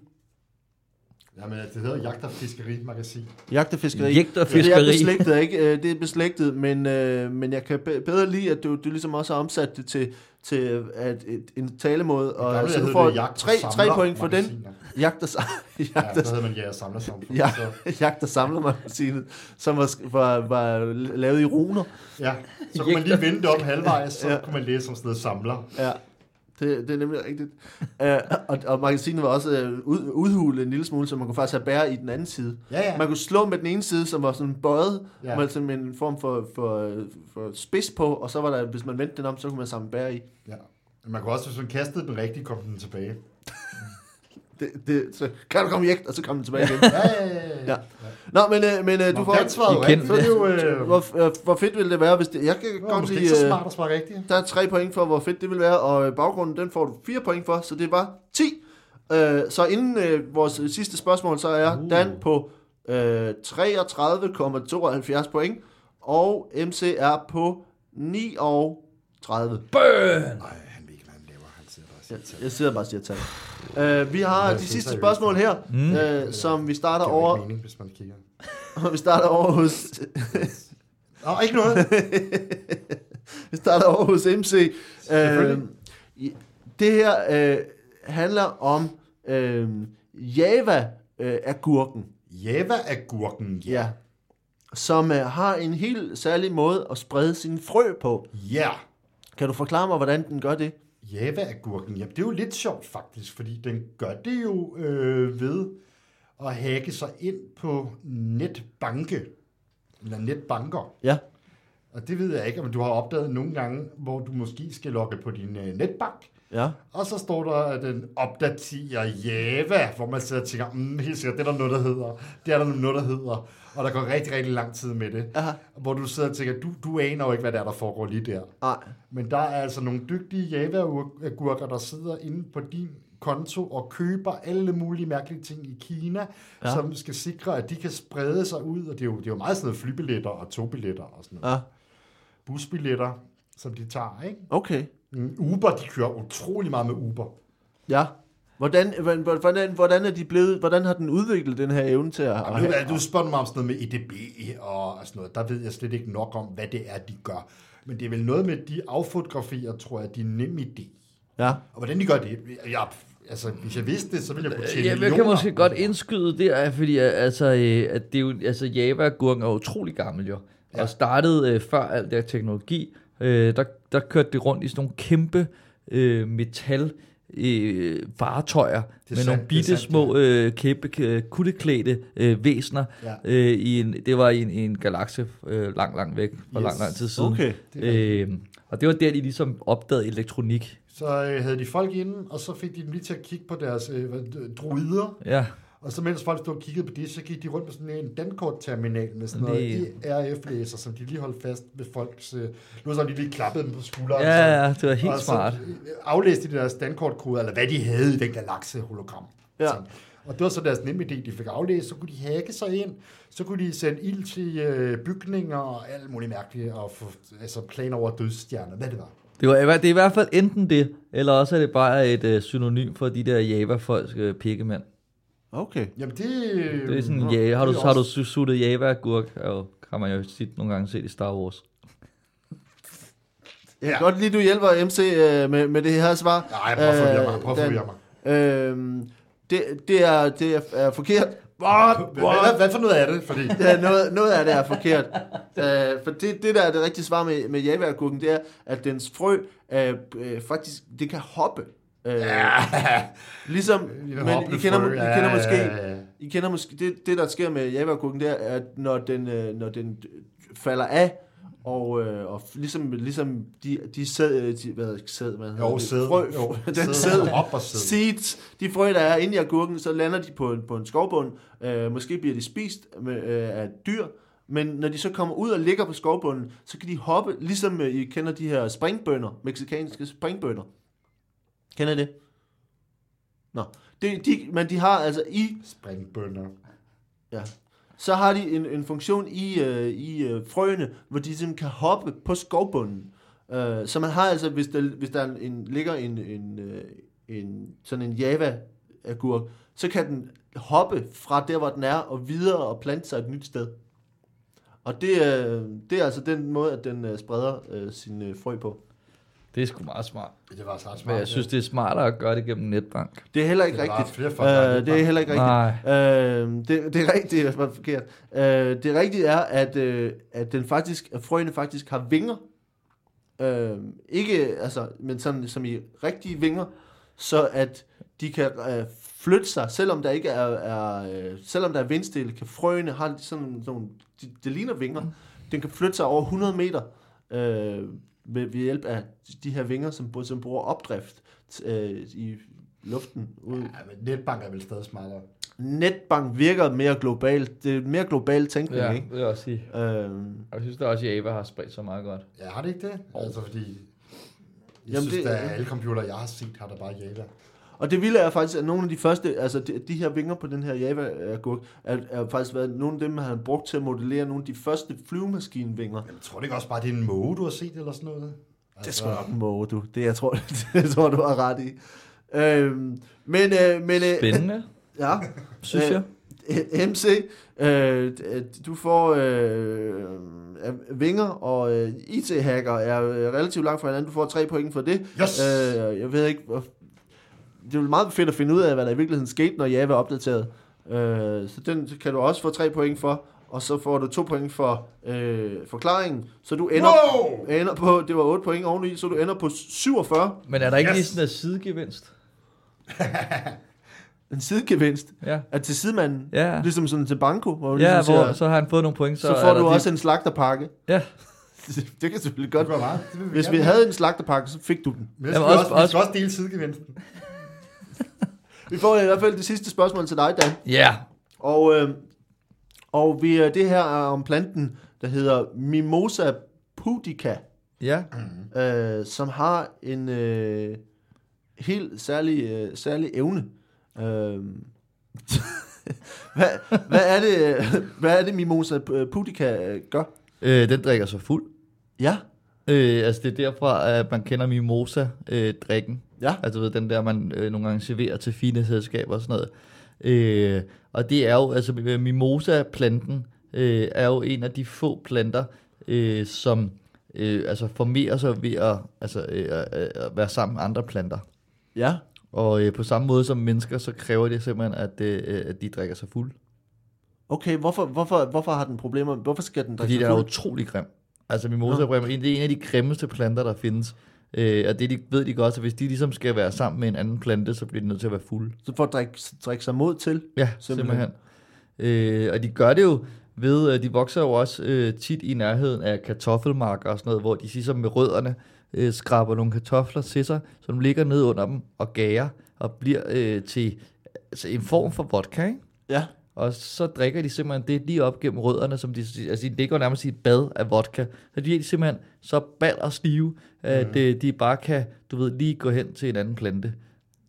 Jamen, det hedder jagt og fiskerimagasin.
Jagt og fiskeri.
Jægt og
Det er
fiskeri.
beslægtet, ikke? Øh, Det er beslægtet, men, øh, men jeg kan be- bedre lide, at du, du ligesom også har omsat det til, til at, et, en talemåde. Og, så du får tre, tre point for den. Jagt og, sa-
Ja,
jagt og
så hedder man ja, samler samfund.
Ja,
Så,
jagt og samlermagasinet, som var, sk- var, var lavet i runer.
ja. så kunne man lige vende det om halvvejs, så
Ja.
kunne man læse som sådan noget samler.
Ja, det, det er nemlig rigtigt. Uh, og, og magasinet var også øh, ud, udhulet en lille smule, så man kunne faktisk have bære i den anden side.
Ja, ja.
Man kunne slå med den ene side, som var sådan bøjet, ja.
Ja.
med sådan en form for, for, for spids på, og så var der, hvis man vendte den om, så kunne man samle bære i.
Ja. Man kunne også, hvis man kastede den rigtigt, kom den tilbage.
Det, det, så kan du komme i ægt, og så kom den tilbage igen.
Ja, ja.
Ja. Nå, men, øh, men øh, du får...
Den svarede jo
Igen.
rigtigt, så er det jo... Øh,
Hvor, øh, hvor fedt ville det være, hvis det... Jeg kan
det var
godt
måske
lide...
ikke så
øh,
smart at svare rigtigt.
Der er tre point for, hvor fedt det vil være, og øh, baggrunden, den får du fire point for, så det var 10. Øh, så inden øh, vores øh, sidste spørgsmål, så er uh. Dan på øh, 33,72 point, og MC er på 39.
Nej, han ved ikke, hvad han laver. Han sidder bare og
Jeg,
siger tal.
jeg sidder bare og siger tal. Øh, vi har de sidste spørgsmål her, øh, som vi starter
Det er jo
over,
ikke mening, hvis man kigger.
vi starter over hos
Nå, ikke noget.
Vi starter over hos MC. Øh,
Selvfølgelig.
i- det her øh, handler om øh, Java-agurken,
Java agurken.
ja. ja, som øh, har en helt særlig måde at sprede sine frø på.
Ja.
Kan du forklare mig, hvordan den gør det?
Java-agurken, jamen det er jo lidt sjovt faktisk, fordi den gør det jo øh, ved at hacke sig ind på netbanke, eller netbanker.
Ja.
Og det ved jeg ikke, om du har opdaget nogle gange, hvor du måske skal logge på din øh, netbank,
Ja.
og så står der, at den opdaterer Java, hvor man sidder og tænker, mm, helt sikkert, det er der noget, der hedder. Det er der noget, der hedder. Og der går rigtig, rigtig lang tid med det.
Aha.
Hvor du sidder og tænker, du, du aner jo ikke, hvad der er, der foregår lige der.
Nej.
Men der er altså nogle dygtige Java-agurker, der sidder inde på din konto og køber alle mulige mærkelige ting i Kina, ja. som skal sikre, at de kan sprede sig ud. Og det er jo, det er jo meget sådan noget flybilletter og togbilletter og sådan noget.
Ja.
Busbilletter, som de tager, ikke?
Okay.
Mm, Uber, de kører utrolig meget med Uber.
Ja. Hvordan, hvordan, hvordan, hvordan er de blevet, hvordan har den udviklet den her evne til at...
Og nu, er- du spørger mig om sådan noget med EDB og sådan noget. Der ved jeg slet ikke nok om, hvad det er, de gør. Men det er vel noget med, de affotograferer, tror jeg, de er nem idé.
Ja.
Og hvordan de gør det, jeg, altså, hvis jeg vidste det, så ville jeg kunne tjene
Ja, jeg kan
millioner.
måske godt indskyde der, fordi øh, altså, øh, at det er jo, altså, Java Gurken er utrolig gammel jo, ja. og startede øh, før alt det her teknologi. Øh, der, der kørte det rundt i sådan nogle kæmpe øh, metal øh, fartøjer med
sandt,
nogle
det er
bitte
sandt,
små øh, kæmpe øh, kutteklædte øh, væsner.
Ja.
Øh, i en, det var i en, i en galakse øh, langt, langt væk for yes. lang, lang tid siden.
Okay.
Øh, og det var der, de ligesom opdagede elektronik.
Så øh, havde de folk inde, og så fik de dem lige til at kigge på deres øh, hvad- øh, druider.
Ja.
Og så mens folk stod og kiggede på det, så gik de rundt med sådan en dankortterminal med sådan noget
Lige-
IRF-læser, som de lige holdt fast ved folks... Øh, nu så de lige klappede dem på skulderen.
Ja,
sådan.
ja, det var helt
og
smart.
Så øh, aflæste de deres dankortkoder, eller hvad de havde i den galakse-hologram.
Ja.
Ting. Og det var så deres nemme idé, de fik aflæst. Så kunne de hacke sig ind, så kunne de sende ild til øh, bygninger og alt muligt mærkeligt, og få, altså planer over dødsstjerner, hvad det var.
Det, var, i hver- det er i hvert fald enten det, eller også er det bare et øh, synonym for de der Java-folk, øh, pikkemænd.
Okay.
Jamen det... øh,
Øhm, Det er sådan,
Nå,
ja, har, du,
det er
har du
også-
su- suttet Java-agurk, og kan man jo sit, nogle gange se det i Star Wars.
Ja.
Ja.
Godt lige, du hjælper MC øh, med, med det her svar.
Nej, prøv at forvirre mig, prøv at
Øh,
forvirre mig.
Dan, øh, det, det, er, det er, er forkert. What?
Hvad, hvad, hvad for noget er det? Fordi,
Ja, noget, noget af det er forkert. Øh, for det, det, der er det rigtige svar med, med javagurken, det er, at dens frø øh, øh, faktisk, det kan hoppe. Øh, ja. Ligesom, men I
hoppende
kender,
frø,
I
ja,
kender
ja,
måske,
ja, ja.
I kender måske det, det, der sker med javagurken, det er, at når den, øh, når den falder af, og, øh, og f- ligesom, ligesom de, de sæd, øh, de, hvad hedder det, sæd, hvad hedder
Jo,
det?
sæd.
Frø,
Jo,
den
sæd.
sæd,
Op og sæd.
seeds, de frø, der er inde i agurken, så lander de på en, på en skovbund. Øh, måske bliver de spist med, øh, af dyr, men når de så kommer ud og ligger på skovbunden, så kan de hoppe, ligesom øh, I kender de her springbønder, meksikanske springbønder. Kender I det? Nå. Det, de, men de har altså i
springbønder.
Ja. Så har de en, en funktion i, øh, i øh, frøene, hvor de simpelthen kan hoppe på skovbunden. Øh, så man har altså, hvis der, hvis der er en, ligger en, en, øh, en, sådan en java-agurk, så kan den hoppe fra der, hvor den er, og videre og plante sig et nyt sted. Og det, øh, det er altså den måde, at den øh, spreder øh, sine øh, frø på.
Det er sgu meget smart.
Det var så smart.
Men jeg synes, det er smartere at gøre det gennem netbank.
Det er heller ikke
Det er
rigtigt.
bare flere folk, der er
Øh,
lidt
det er heller ikke
bange.
rigtigt. Øh, det, det er rigtigt, det var forkert. Øh, det rigtige er, at, øh, at den faktisk, at frøene faktisk har vinger. Øh, ikke, altså, men sådan som i rigtige vinger, så at de kan øh, flytte sig, selvom der ikke er, er øh, selvom der er vindstille, kan frøene har sådan nogle, de, det ligner vinger. Den kan flytte sig over 100 meter øh, ved, ved hjælp af de her vinger, som, bu- som bruger opdrift øh, i luften. Ud.
Ja, men netbank er vel stadig smartere.
Netbank virker mere globalt. Det er mere global tænkning, ja. ikke?
vil jeg også sige.
Øhm,
Og jeg synes da også, at Java har spredt sig meget godt.
Ja, har det ikke det? Altså, fordi... Jeg
Jamen,
Jamen, synes,
det-
det, at alle computere, jeg har set, har der bare Java.
Og det vilde er faktisk, at nogle af de første, altså de, de her vinger på den her Java-agurk, er, er faktisk været nogle af dem, man har brugt til at modellere nogle af de første flyvemaskinvinger.
Jamen, tror du ikke også bare, det er en måge, du har set eller sådan noget? Altså-
Det er sgu nok en måge, du. Det jeg tror, det, tror du har ret i. Øhm, men, øh, men, øh,
Spændende,
ja.
synes
Øh,
jeg.
Øh, MC, øh, d- du får øh, øh, vinger, og øh, IT-hacker er øh, relativt langt fra hinanden. Du får tre point for det.
Yes!
Øh, jeg ved ikke, hvor... Det er jo meget fedt at finde ud af, hvad der i virkeligheden skete, når Java er opdateret. Øh, så den kan du også få tre point for, og så får du to point for øh, forklaringen. Så du ender,
Wow!
ender på, det var 8 point oveni, så du ender på 47.
Men er der ikke
Yes.
yes. lige sådan en sidegevinst?
En sidegevinst
Ja.
er til sidemanden.
Ja,
Ligesom sådan til banko, hvor, du
ja
ligesom
hvor,
siger,
så har han fået nogle point.
så,
Så,
så
er
får
der
du
de-
også en slagterpakke.
Ja,
det kan selvfølgelig
Det
godt
var meget. Det vil
Hvis vi
gerne.
havde en slagterpakke, så fik du den.
Men
Jamen,
Jamen, også,
også-
også, vi skal
også-
også dele sidegevinsten.
Vi får i hvert fald det sidste spørgsmål til dig, Dan.
ja.
Og, øh, og vi, øh, det her er om planten, der hedder Mimosa pudica,
ja.
øh, som har en øh, helt særlig, øh, særlig evne. Øh, hvad, hvad, er det, øh, hvad er det, Mimosa pudica øh, gør?
Øh, den drikker sig fuld.
Ja,
Øh, altså det er derfra, at man kender mimosa-drikken.
ja.
Altså du ved, den der, man øh, nogle gange serverer til fine selskaber og sådan noget. Øh, og det er jo, altså øh, mimosa-planten øh, er jo en af de få planter, øh, som øh, altså formerer sig ved at, altså, øh, øh, at være sammen med andre planter.
ja.
Og øh, på samme måde som mennesker, så kræver det simpelthen, at, øh, at de drikker sig fuld.
Okay, hvorfor, hvorfor, hvorfor har den problemer? Hvorfor skal den
Fordi
drikke
den
sig
er
fuld?
utrolig grim. Altså mimosa ja. det er en af de grimmeste planter, der findes. Øh, og det de, ved de godt, så hvis de ligesom skal være sammen med en anden plante, så bliver de nødt til at være fulde.
Så for at drikke, drikke sig mod til?
Ja,
Simpelthen.
simpelthen. simpelthen. Øh, og de gør det jo ved, øh, de vokser jo også øh, tit i nærheden af kartoffelmarker og sådan noget, hvor de ligesom med rødderne øh, skraber nogle kartofler til sig, som ligger ned under dem og gærer og bliver øh, til altså en form for vodka, ikke?
Ja.
Og så drikker de simpelthen det lige op gennem rødderne, som de, altså det går nærmest i et bad af vodka. Så de er simpelthen så bald og stive, at
Mhm.
mm. de bare kan, du ved, lige gå hen til en anden plante,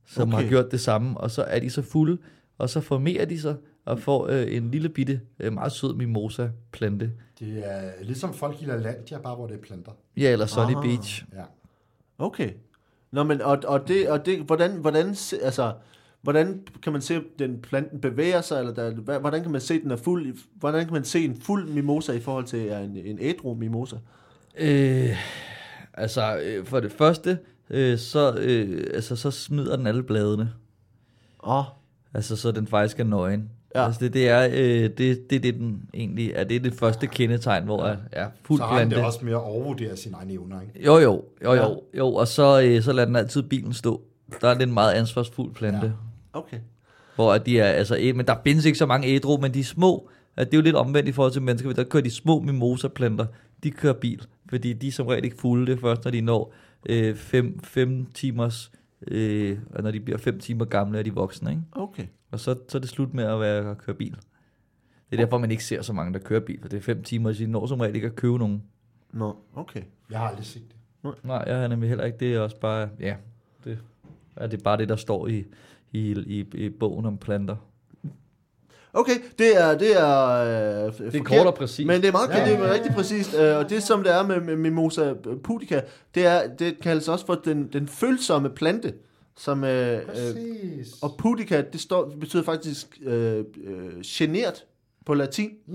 som okay.
Okay.
har gjort det samme. Og så er de så fulde, og så formerer de sig og får øh, en lille bitte, øh, meget sød mimosa-plante.
Det er ligesom folk i LaLandia, bare hvor det er planter.
Ja, eller Sunny
Ah.
ah. Beach.
Ja.
Okay. Nå, men og, og, det, og det, hvordan, hvordan, se- altså, hvordan kan man se, at den planten bevæger sig, eller der, hva- hvordan kan man se, at den er fuld, i- hvordan kan man se en fuld mimosa i forhold til ja, en, en ædru mimosa?
Øh, altså, øh, for det første, øh, så, øh, altså, så smider den alle bladene.
Åh, oh,
Altså, så den faktisk er nøgen.
Ja.
Ja. Altså, det, det er øh, det, det, det, den egentlig er. Det er det første kendetegn, hvor jeg er fuld
Så har han
plante.
det også med at overvurdere sine egne evner, ikke?
Jo, jo, jo,
Ja.
jo, jo. Og så, øh, så lader den altid bilen stå. Der er det en meget ansvarsfuld plante.
Ja.
Ja.
okay.
Hvor at de er, altså, æ, men der findes ikke så mange ædru, men de er små. At det er jo lidt omvendt i forhold til mennesker, der kører de små mimosa-planter, de kører bil, fordi de er som regel ikke fulde, det er først, når de når 5 øh, fem, fem timers, øh, og når de bliver 5 timer gamle, er de voksne, ikke?
Okay.
Og så, så er det slut med at, være, at køre bil. Det er derfor, man ikke ser så mange, der kører bil, for det er fem timer, så de når som regel ikke at købe nogen.
Nå, okay.
Jeg har aldrig set det.
Nej, jeg har nemlig heller ikke. Det er også bare, ja, det er det er bare det, der står i, i, i, i bogen om planter.
Okay, det er, det er, øh, det
kort og præcist.
Men det er meget
Ja,
det er
ja, ja.
rigtig præcist. øh, Og det, som det er med, med Mimosa pudica, det, er, det kaldes også for den, den følsomme plante, som, øh, øh,
Præcis.
Og pudica, det står, betyder faktisk øh, øh, genert på latin.
Ja,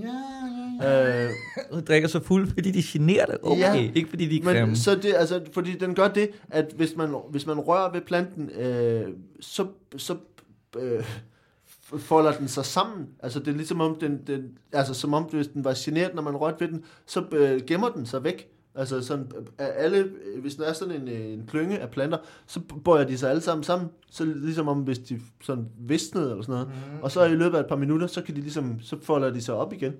ja, ja.
Øh,
De drikker så fuld, fordi de generer det. Okay,
Ja,
ja, ikke fordi de er
men
grimme.
så det, altså, fordi den gør det, at hvis man, hvis man rører ved planten, øh, så, så øh, f- folder den sig sammen. Altså det er ligesom om, den, den, altså, som om hvis den var genert, når man rørte ved den, så øh, gemmer den sig væk. Altså sådan, øh, alle, øh, hvis der er sådan en, øh, en klynge af planter, så bøjer de sig alle sammen sammen. Så ligesom om, hvis de sådan visnede eller sådan noget. Og så i løbet af et par minutter, så kan de ligesom, så folder de sig op igen.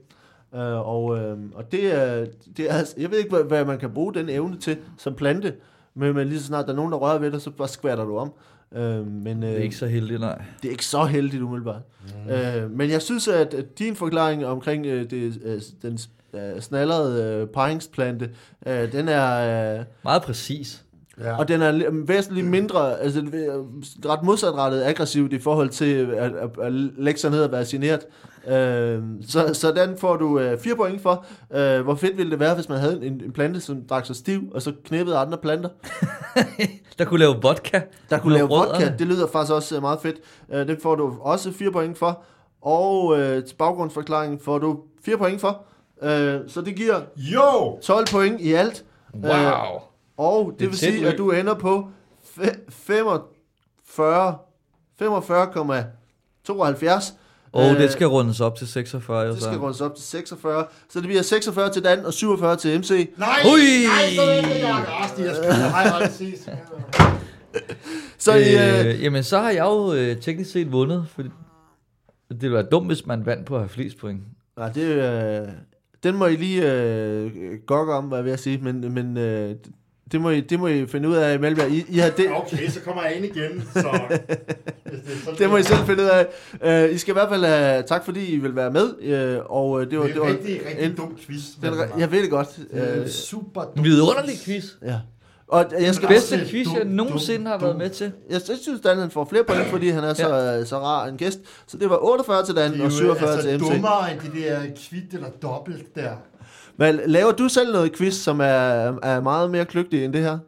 Øh, og, øh, og det er, det er, altså- jeg ved ikke, hvad, hvad man kan bruge den evne til som plante, men, men lige så snart der er nogen, der rører ved dig, så bare skvatter du om. Øh, men, øh,
Det er ikke så heldigt, nej.
det er ikke så heldigt umiddelbart. Mm. Øh, men jeg synes, at at din forklaring omkring øh, det, øh, den øh, snallerede øh, paringsplante, øh, den er... Øh,
Meget præcis.
Ja. Øh, Og den er li- væsentligt mindre, altså øh, ret modsatrettet aggressivt i forhold til at, at, at lægge sig ned og være generet. Øh, så, så den får du øh, fire point for. Øh, hvor fedt ville det være, hvis man havde en, en plante, som drak sig stiv, og så knæppede andre planter,
Der kunne lave vodka.
der kunne
med
lave vodka.
rødderne.
Det lyder faktisk også øh, meget fedt. Øh, den får du også fire point for. Og øh, til baggrundsforklaringen får du fire point for. Øh, så det giver
Jo!
12 point i alt. Øh,
Wow.
og det,
Det
det
er
vil
tæt
sige,
løb.
at du ender på fe- 45 45,72.
Og
Øh,
det skal rundes op til 46. jo
det skal
så.
rundes op til 46. Så det bliver 46 til Dan og 47 til MC.
Nej!
Ui!
Nej, så er det der Rasti, jeg skal Nej, hvor er det sidst.
Så øh, øh,
øh, jamen, så har jeg jo øh, teknisk set vundet, for det ville være dumt, hvis man vandt på at have flest point.
nej, det, øh, den må I lige øh, gokke om, hvad jeg vil at sige, men, men øh, det, må I, det må I finde ud af i Malmberg. I, I har det,
Okay, så kommer jeg ind igen, så... Hvis det, er sådan,
det må I selv finde ud af. Øh, I skal i hvert fald have tak, fordi I vil være med. Øh, og øh, det var,
Det
det
er
var
en rigtig, rigtig
en-
dum quiz.
den,
men
re- jeg ved det godt.
det er
Øh,
super dum.
Vidunderlig quiz.
Ja. Og jeg, skal,
Bedste
Dum,
quiz,
dum,
jeg nogensinde har
dum.
været med til.
jeg synes, Dan han får flere point, fordi han er så, øh, så rar en gæst. Så det var 48 til Dan og 47
altså
til MC.
dummere end det der kvitt eller dobbelt der.
Men laver du selv noget quiz, som er, er meget mere kløgtig end det her?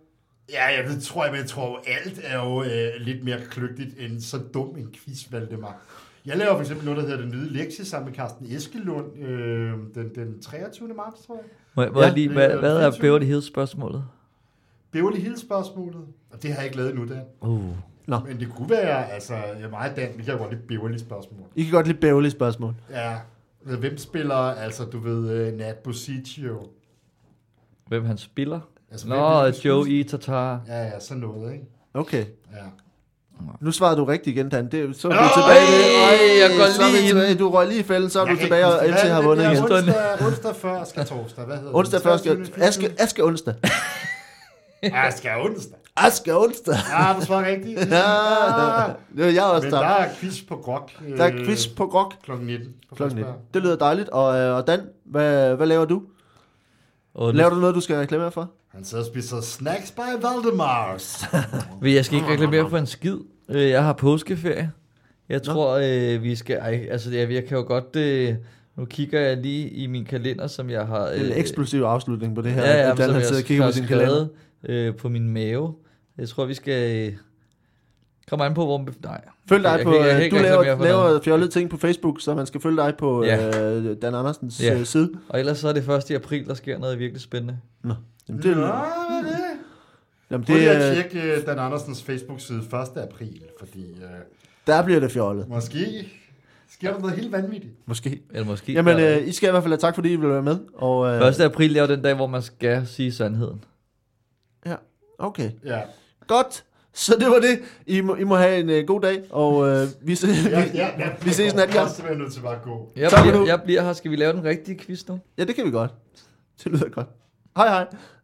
Ja, jeg ved, tror, jeg, men jeg tror, alt er jo øh, lidt mere kløgtigt end så dum en quiz, Valdemar. Jeg laver for eksempel noget, der hedder Den Nye Lektie sammen med Carsten Eskelund øh, den, den 23. marts, tror jeg.
Må jeg, må ja, jeg lige,
det
hvad,
er
hvad er
sindssygt.
Beverly Hills spørgsmålet?
Beverly Hills spørgsmålet, og det har jeg ikke lavet endnu, Dan.
Uh.
Men det kunne være, altså, jeg er meget Dan, men jeg kan godt lide Beverly spørgsmål.
I kan godt lide bævlige spørgsmål.
Ja, men hvem spiller, altså, du ved, øh, Nat Bosicio?
Hvem han spiller?
Altså, hvem
Nå,
er det,
Joe E. Tatar.
Ja, ja, sådan noget, ikke?
Okay.
Ja.
Nu svarede du rigtigt igen, Dan. Det, så er du tilbage. ved-
Øj, jeg går
så er vi
lige i den.
tilbage. Du røg lige i fælden, så er
Jeg
du
kan
tilbage,
ikke
og
huske,
MC
hvad
har
er det
vundet
der?
igen.
Onsdag, onsdag før skal torsdag, hvad hedder
Onsdag
den?
først.
23.
Aske, aske onsdag.
Ja, skal onsdag.
Aske onsdag.
Ja, du svarer rigtigt.
Ja, det var jeg også
Men
der.
der er quiz på grok. Øh,
Der er quiz på grok.
Klokken 19. på
Klokken 19.
Frederiksberg.
Det lyder dejligt. Og, øh, og Dan, hvad, hvad laver du?
Og nu,
Laver du noget, du skal reklamere for?
Han sidder og spiser snacks by Valdemars.
Ved, jeg skal ikke reklamere for en skid. Øh, Jeg har påskeferie. Jeg tror, øh, vi skal... Ej, altså, jeg, jeg kan jo godt... Øh, nu kigger jeg lige i min kalender, som jeg har... øh,
Det er en eksplosiv afslutning på det her.
Ja, ja,
Dan, han
men, som
sidder og
jeg
kigger
har
på sin kalender.
skrevet øh, på min mave. Jeg tror, vi skal... Øh, komme an på, hvor... Nej.
Følg dig
Jeg
på,
kan ikke- jeg kan
øh,
ikke
du laver,
reklamere for
laver
noget.
fjollede ting på Facebook, så man skal følge dig på
Ja.
øh, Dan Andersens
Ja.
øh, side.
Og ellers så er det 1. april, der sker noget virkelig spændende.
Nå. Jamen,
Nå,
det,
hvad er det?
jamen,
Prøv lige at
det, øh,
tjekke øh, Dan Andersens Facebook-side 1. april, fordi øh,
der bliver det fjollet,
måske sker der noget helt vanvittigt.
måske.
Eller måske...
Jamen,
der-
øh, I skal i hvert fald have tak, fordi I vil være med. Og, øh,
1. april er jo den dag, hvor man skal sige sandheden.
ja, okay.
Ja,
Godt. Så det var det. I må, I må have en øh, god dag, og øh, vi, se,
ja,
vi,
ja, ja.
vi ses nat,
Jeg
ja.
er simpelthen nødt til bare at gå.
Jeg,
Tak for nu.
bliver, jeg bliver her. Skal vi lave den rigtige quiz nu?
Ja, det kan vi godt. Det lyder godt. Hej hej.